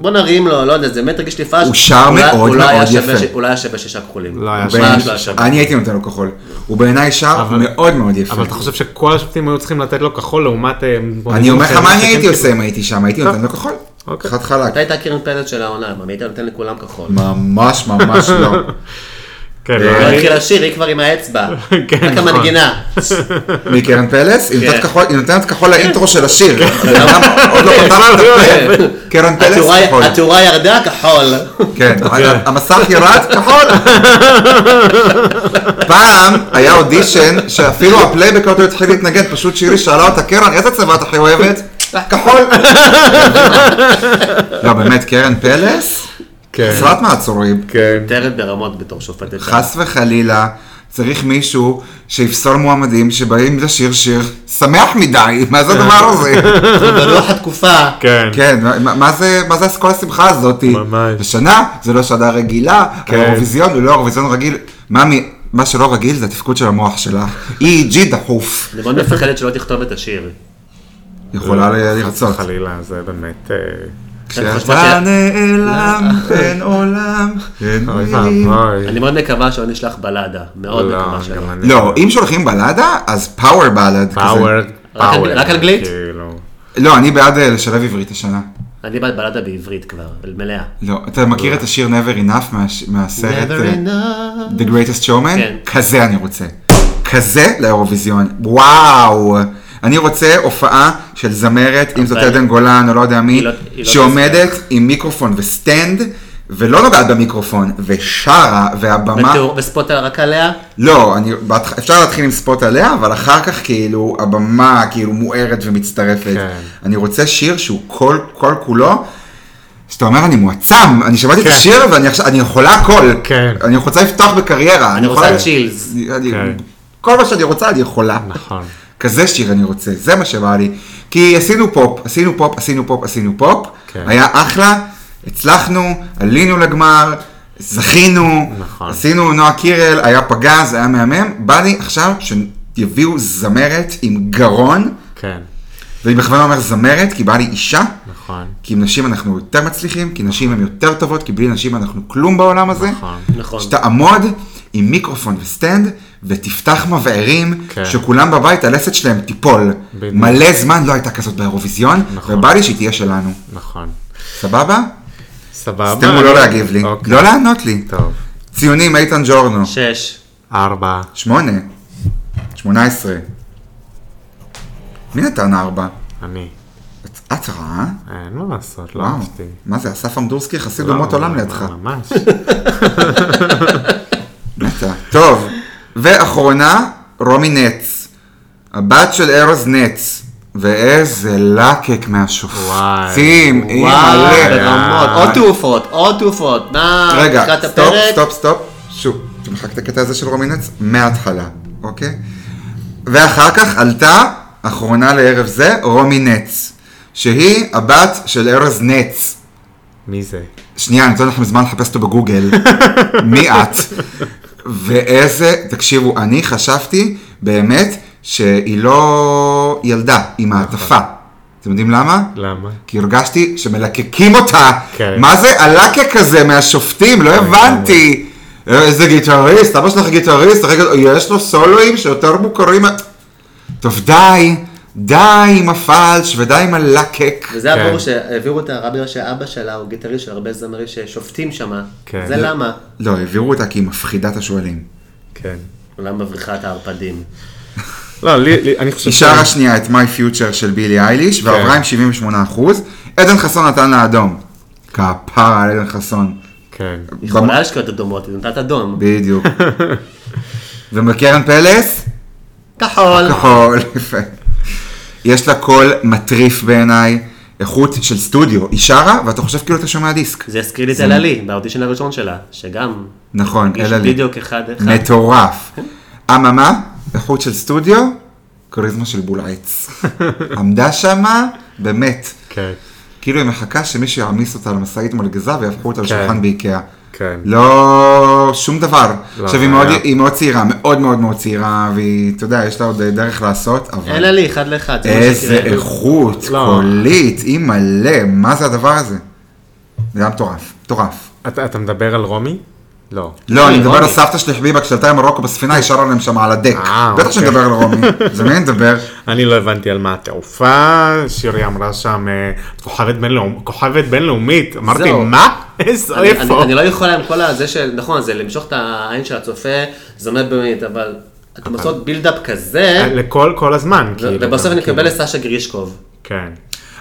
E: בוא נרים לו, לא יודע, זה באמת הרגיש לי פאז'.
A: הוא שר
E: אולי-
A: מאוד
E: אולי היה
A: מאוד
E: שווה
A: יפה.
E: ש- אולי היה שווה שישה כחולים.
D: לא היה
E: ממש
A: הוא בעיני-
E: לא היה שווה.
A: אני הייתי נותן לו כחול. הוא בעיניי שר
D: אבל-
A: מאוד מאוד יפה.
D: אבל אתה חושב שכל השופטים היו צריכים לתת לו כחול לעומת... אה,
A: אני
D: מועמדים
A: אומר לך
D: אחרים
A: מה אני
D: שכן
A: הייתי
D: קיבלו?
A: עושה אם הייתי שם, הייתי
D: טוב.
A: נותן לו כחול.
D: כאילו? לא. אוקיי.
A: חד חלק.
E: אתה היית הקרן פלד של העונה, מה, היית נותן לכולם כחול.
A: ממש ממש לא.
D: כן,
A: אה,
E: לא
D: לא, אני-
E: התחיל לשיר, היא כבר עם האצבע.
D: כן,
E: רק
D: נכון.
E: המנגינה.
A: מי קרן פלס? היא נותנת
E: כן.
A: כחול- היא נותנת כחול לאינטרו של השיר. גם עוד לא פתחת את הפה.
E: כן.
A: קרן פלס
E: התאורה-
A: כחול.
E: התאורה ירדה כחול.
A: כן, המסך ירד כחול. פעם היה אודישן שאפילו הפלייבק לא התחיל להתנגן, פשוט שירי שאלה אותה, קרן, איזה צבע את הכי אוהבת? כחול. לא, באמת, קרן פלס?
D: כן.
A: חסרת מעצורים.
D: כן.
E: טרד ברמות בתור שופטת.
A: חס וחלילה, צריך מישהו שיפסול מועמדים שבאים לשיר שיר שמח מדי, מה זה הדבר הזה?
E: אנחנו ברוח התקופה.
D: כן.
A: כן, מה, מה זה, מה זה כל השמחה הזאת?
D: ממש.
A: זה שנה, זה לא שנה רגילה,
D: כן.
A: האירוויזיון הוא לא אירוויזיון רגיל. ממי, מה שלא רגיל זה התפקוד של המוח שלך. EEG דחוף.
E: אני מאוד מפחדת שלא תכתוב את השיר.
A: יכולה ל- לרצות.
D: אה, חלילה, זה באמת... אה,
A: כשאתה נעלם, אין עולם, אין
D: אוי
A: מילים.
D: ואבוי.
E: אני מאוד מקווה שלא נשלח בלאדה. מאוד
D: לא,
E: מקווה שלא.
D: גם אני.
A: לא, אם שולחים בלדה, אז פאוור בלד.
D: פאוור.
E: רק על-
D: פאוור,
E: רק אנגלית?
D: כאילו.
A: לא, אני בעד אה, לשלב עברית השנה.
E: אני בעד בלאדה בעברית כבר, מלאה.
A: לא, אתה מכיר את השיר Never Enough מהש- מהסרט? אה, The Greatest Showman?
E: כן.
A: כזה אני רוצה. כזה לאירוויזיון. וואו. אני רוצה הופעה של זמרת, אם זאת
E: אבל-
A: עדן גולן או לא יודע מי,
E: היא לא- היא לא
A: שעומדת עם מיקרופון וסטנד, ולא נוגעת במיקרופון, ושרה, והבמה...
E: בתיאור- וספוט רק עליה?
A: לא, אני, בהתח- אפשר להתחיל עם ספוט עליה, אבל אחר כך כאילו הבמה כאילו מוארת ומצטרפת.
D: כן.
A: אני רוצה שיר שהוא כל, כל כולו, שאתה אומר אני מועצם, אני שמעתי את
D: כן.
A: השיר ואני עכשיו, אני יכולה הכל.
D: כן.
A: אני רוצה לפתוח בקריירה.
E: אני
A: יכולה-
E: רוצה צ'ילס.
A: אני- אני-
D: כן.
A: כל מה שאני רוצה אני יכולה.
D: נכון.
A: כזה שיר אני רוצה, זה מה שבא לי. כי עשינו פופ, עשינו פופ, עשינו פופ, עשינו פופ,
D: כן.
A: היה אחלה, הצלחנו, עלינו לגמר, זכינו,
D: נכון.
A: עשינו נועה קירל, היה פגז, היה מהמם, בא לי עכשיו שיביאו זמרת עם גרון,
D: כן.
A: ואני בכוונה אומר זמרת, כי בא לי אישה,
D: נכון.
A: כי עם נשים אנחנו יותר מצליחים, כי נשים הן יותר טובות, כי בלי נשים אנחנו כלום בעולם הזה.
D: נכון.
E: נכון.
A: שתעמוד עם מיקרופון וסטנד ותפתח מבערים,
D: כן.
A: שכולם בבית הלסת שלהם תיפול.
D: בדיוק.
A: מלא זמן לא הייתה כזאת באירוויזיון,
D: נכון.
A: ובא לי שהיא תהיה שלנו.
D: נכון.
A: סבבה?
D: סבבה.
A: סתמו לא להגיב לי,
D: אוקיי.
A: לא לענות לי.
D: טוב.
A: ציונים איתן ג'ורנו,
E: שש.
D: ארבע.
A: שמונה, שמונה עשרה. מי נתן ארבע?
D: אני.
A: את- את רעה?
D: אין מה לעשות, לא
A: וואו,
D: אהבתי.
A: מה זה, אסף עמדורסקי חסיד
D: לא,
A: אומות עולם
D: לא,
A: לידך.
D: ממש.
A: אתה. טוב, ואחרונה, רומי נץ. הבת של ארז נץ. ואיזה לקק מהשופטים,
D: וואי.
E: וואו,
A: אימא'לה.
E: אה, ברמות. עוד תעופות, עוד תעופות. מה,
A: אה. רגע,
E: לקראת
A: סטופ,
E: הפרק?
A: סטופ, סטופ. שוב, תמחק את הקטע הזה של רומי נץ מההתחלה, אוקיי? ואחר כך עלתה, אחרונה לערב זה, רומי נץ. שהיא הבת של ארז נץ.
D: מי זה?
A: שנייה, אני נותן לכם זמן לחפש אותו בגוגל. מי את? ואיזה, תקשיבו, אני חשבתי באמת שהיא לא ילדה, היא מעטפה. אתם יודעים למה?
D: למה?
A: כי הרגשתי שמלקקים אותה.
D: כן.
A: מה זה הלקק הזה מהשופטים? לא הבנתי. אה, איזה גיטריסט, אבא שלך גיטריסט, רגע, יש לו סולואים שיותר מוכרים. מה- טוב, די, די עם הפלש ודי עם הלקק.
E: וזה
D: כן.
E: הבור שהעבירו את הרב שאבא שלה הוא גיטריסט של הרבה זמרים ששופטים שמה.
D: כן.
E: זה למה.
A: לא, העבירו אותה כי היא מפחידה את השועלים.
D: כן.
E: אולם מבריחת הערפדים.
D: לא, לי, לי- אני חושב...
A: היא שרה שנייה את My Future של בילי אייליש, ועברה עם 78%. עדן חסון נתן לה אדום. כפרה על עדן חסון.
D: כן.
E: היא
A: במ-
E: יכולה לשקוט אדומות, היא נתת אדום.
A: בדיוק. ובקרן פלס?
E: כחול.
A: כחול, יפה. יש לה קול מטריף בעיניי, איכות של סטודיו. היא שרה, ואתה חושב כאילו אתה שומע דיסק.
E: זה הזכיר לי את אלעלי, באודישן הראשון שלה, שגם
A: נכון,
E: יש
A: אלה לי.
E: בדיוק אחד כן. אחד.
A: מטורף. אממה, איכות של סטודיו, כריזמה של בול עץ. עמדה שמה, באמת.
D: כן.
A: כאילו היא מחכה שמישהו יעמיס אותה על משאית מלגזה ויהפכו אותה לשולחן באיקאה.
D: כן.
A: לא, שום דבר.
D: לא,
A: עכשיו, היא
D: זה
A: מאוד-
D: היה.
A: היא מאוד צעירה, מאוד מאוד מאוד צעירה, והיא, אתה יודע, יש לה עוד אה, דרך לעשות, אבל...
E: אלעלי, אחד לאחד. זה מה
A: כן. איזה
E: שהקראנו.
A: איכות
D: לא.
A: קולית, היא מלא, מה זה הדבר הזה? זה היה מטורף, מטורף.
D: אתה, אתה מדבר על רומי? לא.
A: לא, אני מדבר
E: רומי.
A: על סבתא שלי חביבה, כשעלתה עם מרוקו בספינה, היא שרה להם שם על הדק.
D: אה,
A: בטח
D: אוקיי.
A: שאני מדבר על רומי, זה מי אני מדבר?
D: אני לא הבנתי על מה התעופה, שירי אמרה שם אה, את כוכבת בינלאומ- כוכבת בינלאומית, אמרתי
E: זהו.
D: מה? איזה
E: אני- אני
D: איפה?
E: אני לא יכולה עם כל הזה של, נכון, זה למשוך את העין של הצופה, זה אומר באמת, אבל אתם עושות בילדאפ כזה,
D: אה, לכל, כל הזמן,
E: ו-
D: כאילו.
E: ובסוף
D: גם,
E: אני
D: כאילו.
E: מקבל לסשה גרישקוב.
D: כן.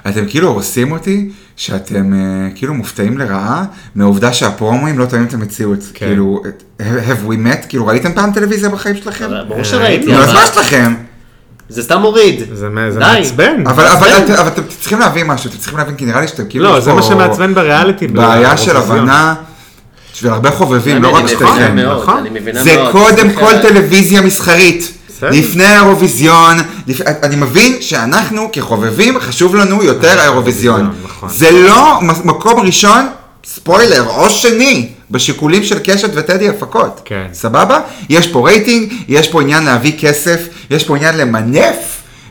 A: אתם כאילו הורסים אותי, שאתם אה, כאילו מופתעים לרעה מהעובדה שהפרומואים לא תואמים את המציאות.
D: כן.
A: כאילו, have have we met? כאילו, ראיתם פעם טלוויזיה בחיים שלכם?
E: אבל אה, ברור שראיתי,
A: נו, אז
E: אבל
A: מה יש לכם?
E: זה סתם מוריד.
D: זה מ- זה
E: די.
D: מעצבן.
A: אבל אבל אתם- אבל אתם צריכים להבין משהו, אתם צריכים להבין, כי נראה לי שאתם כאילו...
D: לא,
A: יש
D: זה
A: פה-
D: מה שמעצבן בריאליטי.
A: בעיה של
D: באירוויזיון.
A: הבנה, בשביל הרבה חובבים, לא
E: אה, אני
A: רק
E: מבינה
A: שתיכם.
E: מאוד,
D: נכון.
E: אני מבינה
A: זה
E: מאוד. כן.
A: קודם
E: סליחה.
A: כל טלוויזיה מסחרית.
D: בסדר.
A: לפני האירוויזיון, לפ... אני מבין שאנחנו כחובבים, חשוב לנו יותר האירוויזיון.
D: האירוויזיון, נכון.
A: זה לא מ- מקום ראשון, ספוילר, או שני, בשיקולים של קשת וטדי הפקות.
D: כן.
A: סבבה? יש פה רייטינג, יש פה עניין להביא כסף, יש פה עניין למנף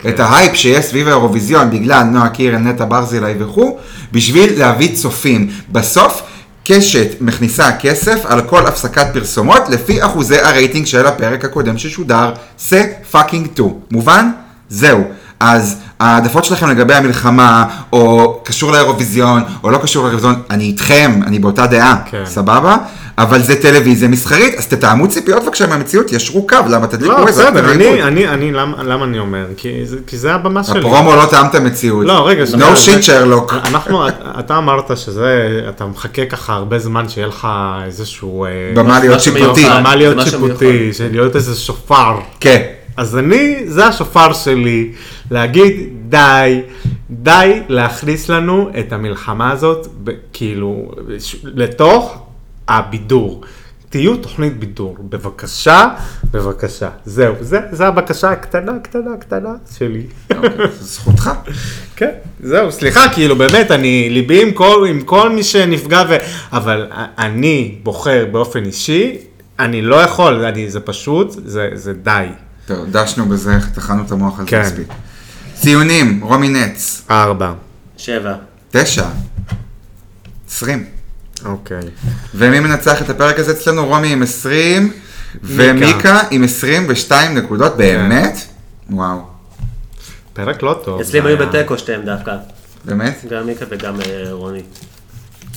A: את ההייפ שיש סביב האירוויזיון, בגלל נועה קירל, נטע ברזילי וכו', בשביל להביא צופים. בסוף, קשת מכניסה כסף על כל הפסקת פרסומות, לפי אחוזי הרייטינג של הפרק הקודם ששודר, זה פאקינג טו. מובן? זהו. אז העדפות שלכם לגבי המלחמה, או קשור לאירוויזיון, או לא קשור לאירוויזיון, אני איתכם, אני באותה דעה,
D: כן.
A: סבבה? אבל זה טלוויזיה מסחרית, אז תתאמו ציפיות בבקשה מהמציאות, ישרו קו, למה תדליקו
D: לא,
A: איזה
D: בסדר,
A: אקטיביות?
D: אני, אני, אני, למה למה אני אומר? כי זה- כי זה הבמה שלי.
A: הפרומו לא טעם את המציאות.
D: לא, רגע, שנייה,
A: no
D: זה- אה,
A: shit שרלוק.
D: אנחנו, אתה אמרת שזה, אתה מחכה ככה הרבה זמן שיהיה לך איזשהו... אה,
A: במה להיות
E: משהו
A: שיפוטי.
E: מיוחד.
D: במה
E: זה
D: להיות
E: משהו
D: שיפוטי, של להיות איזה שופר.
A: כן.
D: אז אני, זה השופר שלי, להגיד די, די להכניס לנו את המלחמה הזאת, ב- כאילו, ש- לתוך הבידור. תהיו תוכנית בידור, בבקשה, בבקשה. זהו, זה, זה הבקשה הקטנה, קטנה, קטנה שלי.
A: אוקיי, זכותך.
D: כן, זהו, סליחה, כאילו באמת, אני ליבי עם כל, עם כל מי שנפגע, ו... אבל א- אני בוחר באופן אישי, אני לא יכול, אני, זה פשוט, זה, זה די.
A: טוב, דשנו בזה, טחנו את המוח על זה
D: כן.
A: מספיק. ציונים, רומי נץ,
D: ארבע.
E: שבע.
A: תשע, עשרים.
D: אוקיי.
A: ומי מנצח את הפרק הזה אצלנו? רומי עם עשרים, ומיקה עם עשרים ושתיים
D: כן.
A: נקודות, באמת? וואו,
D: פרק לא טוב.
E: אצלי הם
D: זה
E: היו
D: היה.
E: בתיקו שתיהם דווקא,
A: באמת?
E: גם מיקה וגם אה, רוני.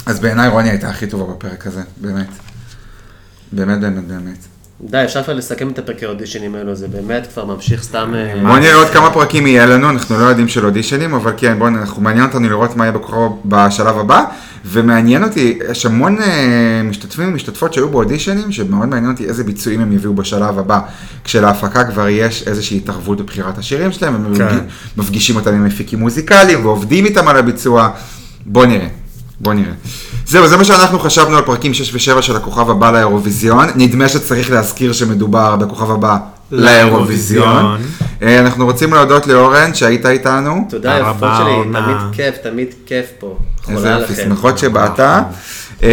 A: אז בעיניי רוני הייתה הכי טובה בפרק הזה, באמת. באמת, באמת, באמת.
E: די, אפשר כבר לסכם את הפרקי אודישנים האלו, זה באמת כבר ממשיך סתם... אה,
A: בוא נראה עוד כמה פרקים יהיה לנו, אנחנו לא יודעים של אודישנים, אבל כן, בואו, אנחנו- מעניין אותנו לראות מה יהיה בקרוב בשלב הבא, ומעניין אותי, יש המון אה, משתתפים ומשתתפות שהיו באודישנים, שמאוד מעניין אותי איזה ביצועים הם יביאו בשלב הבא, כשלהפקה כבר יש איזושהי התערבות בבחירת השירים שלהם, הם
D: כן.
A: מפגיש- מפגישים אותם עם מפיקים מוזיקליים, ועובדים איתם על הביצוע, בוא נראה. בוא נראה. זהו, זה מה שאנחנו חשבנו על פרקים 6 ו-7 של הכוכב הבא לאירוויזיון. נדמה שצריך להזכיר שמדובר בכוכב הבא לאירוויזיון.
D: לאירוויזיון.
A: אה, אנחנו רוצים להודות לאורן שהיית איתנו.
E: תודה
D: הרבה
E: יפות שלי,
D: עונה.
E: תמיד כיף, תמיד כיף פה. חולה
A: איזה
E: עליכם.
A: יופי, שמחות שבאת. אמ,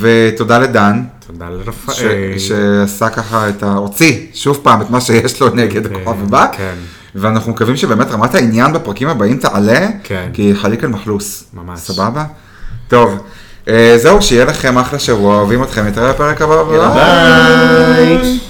A: ותודה לדן,
D: תודה
A: ש-
D: לרפאל.
A: שעשה ככה את ה... הוציא שוב פעם את מה שיש לו נגד הכוכב הבא.
D: כן.
A: ואנחנו מקווים שבאמת רמת העניין בפרקים הבאים תעלה,
D: כן.
A: כי חליק על מחלוס.
D: ממש.
A: סבבה? טוב, אה, זהו, שיהיה לכם אחלה שבוע, אוהבים אתכם, נתראה בפרק הבא. ביי.
D: ביי.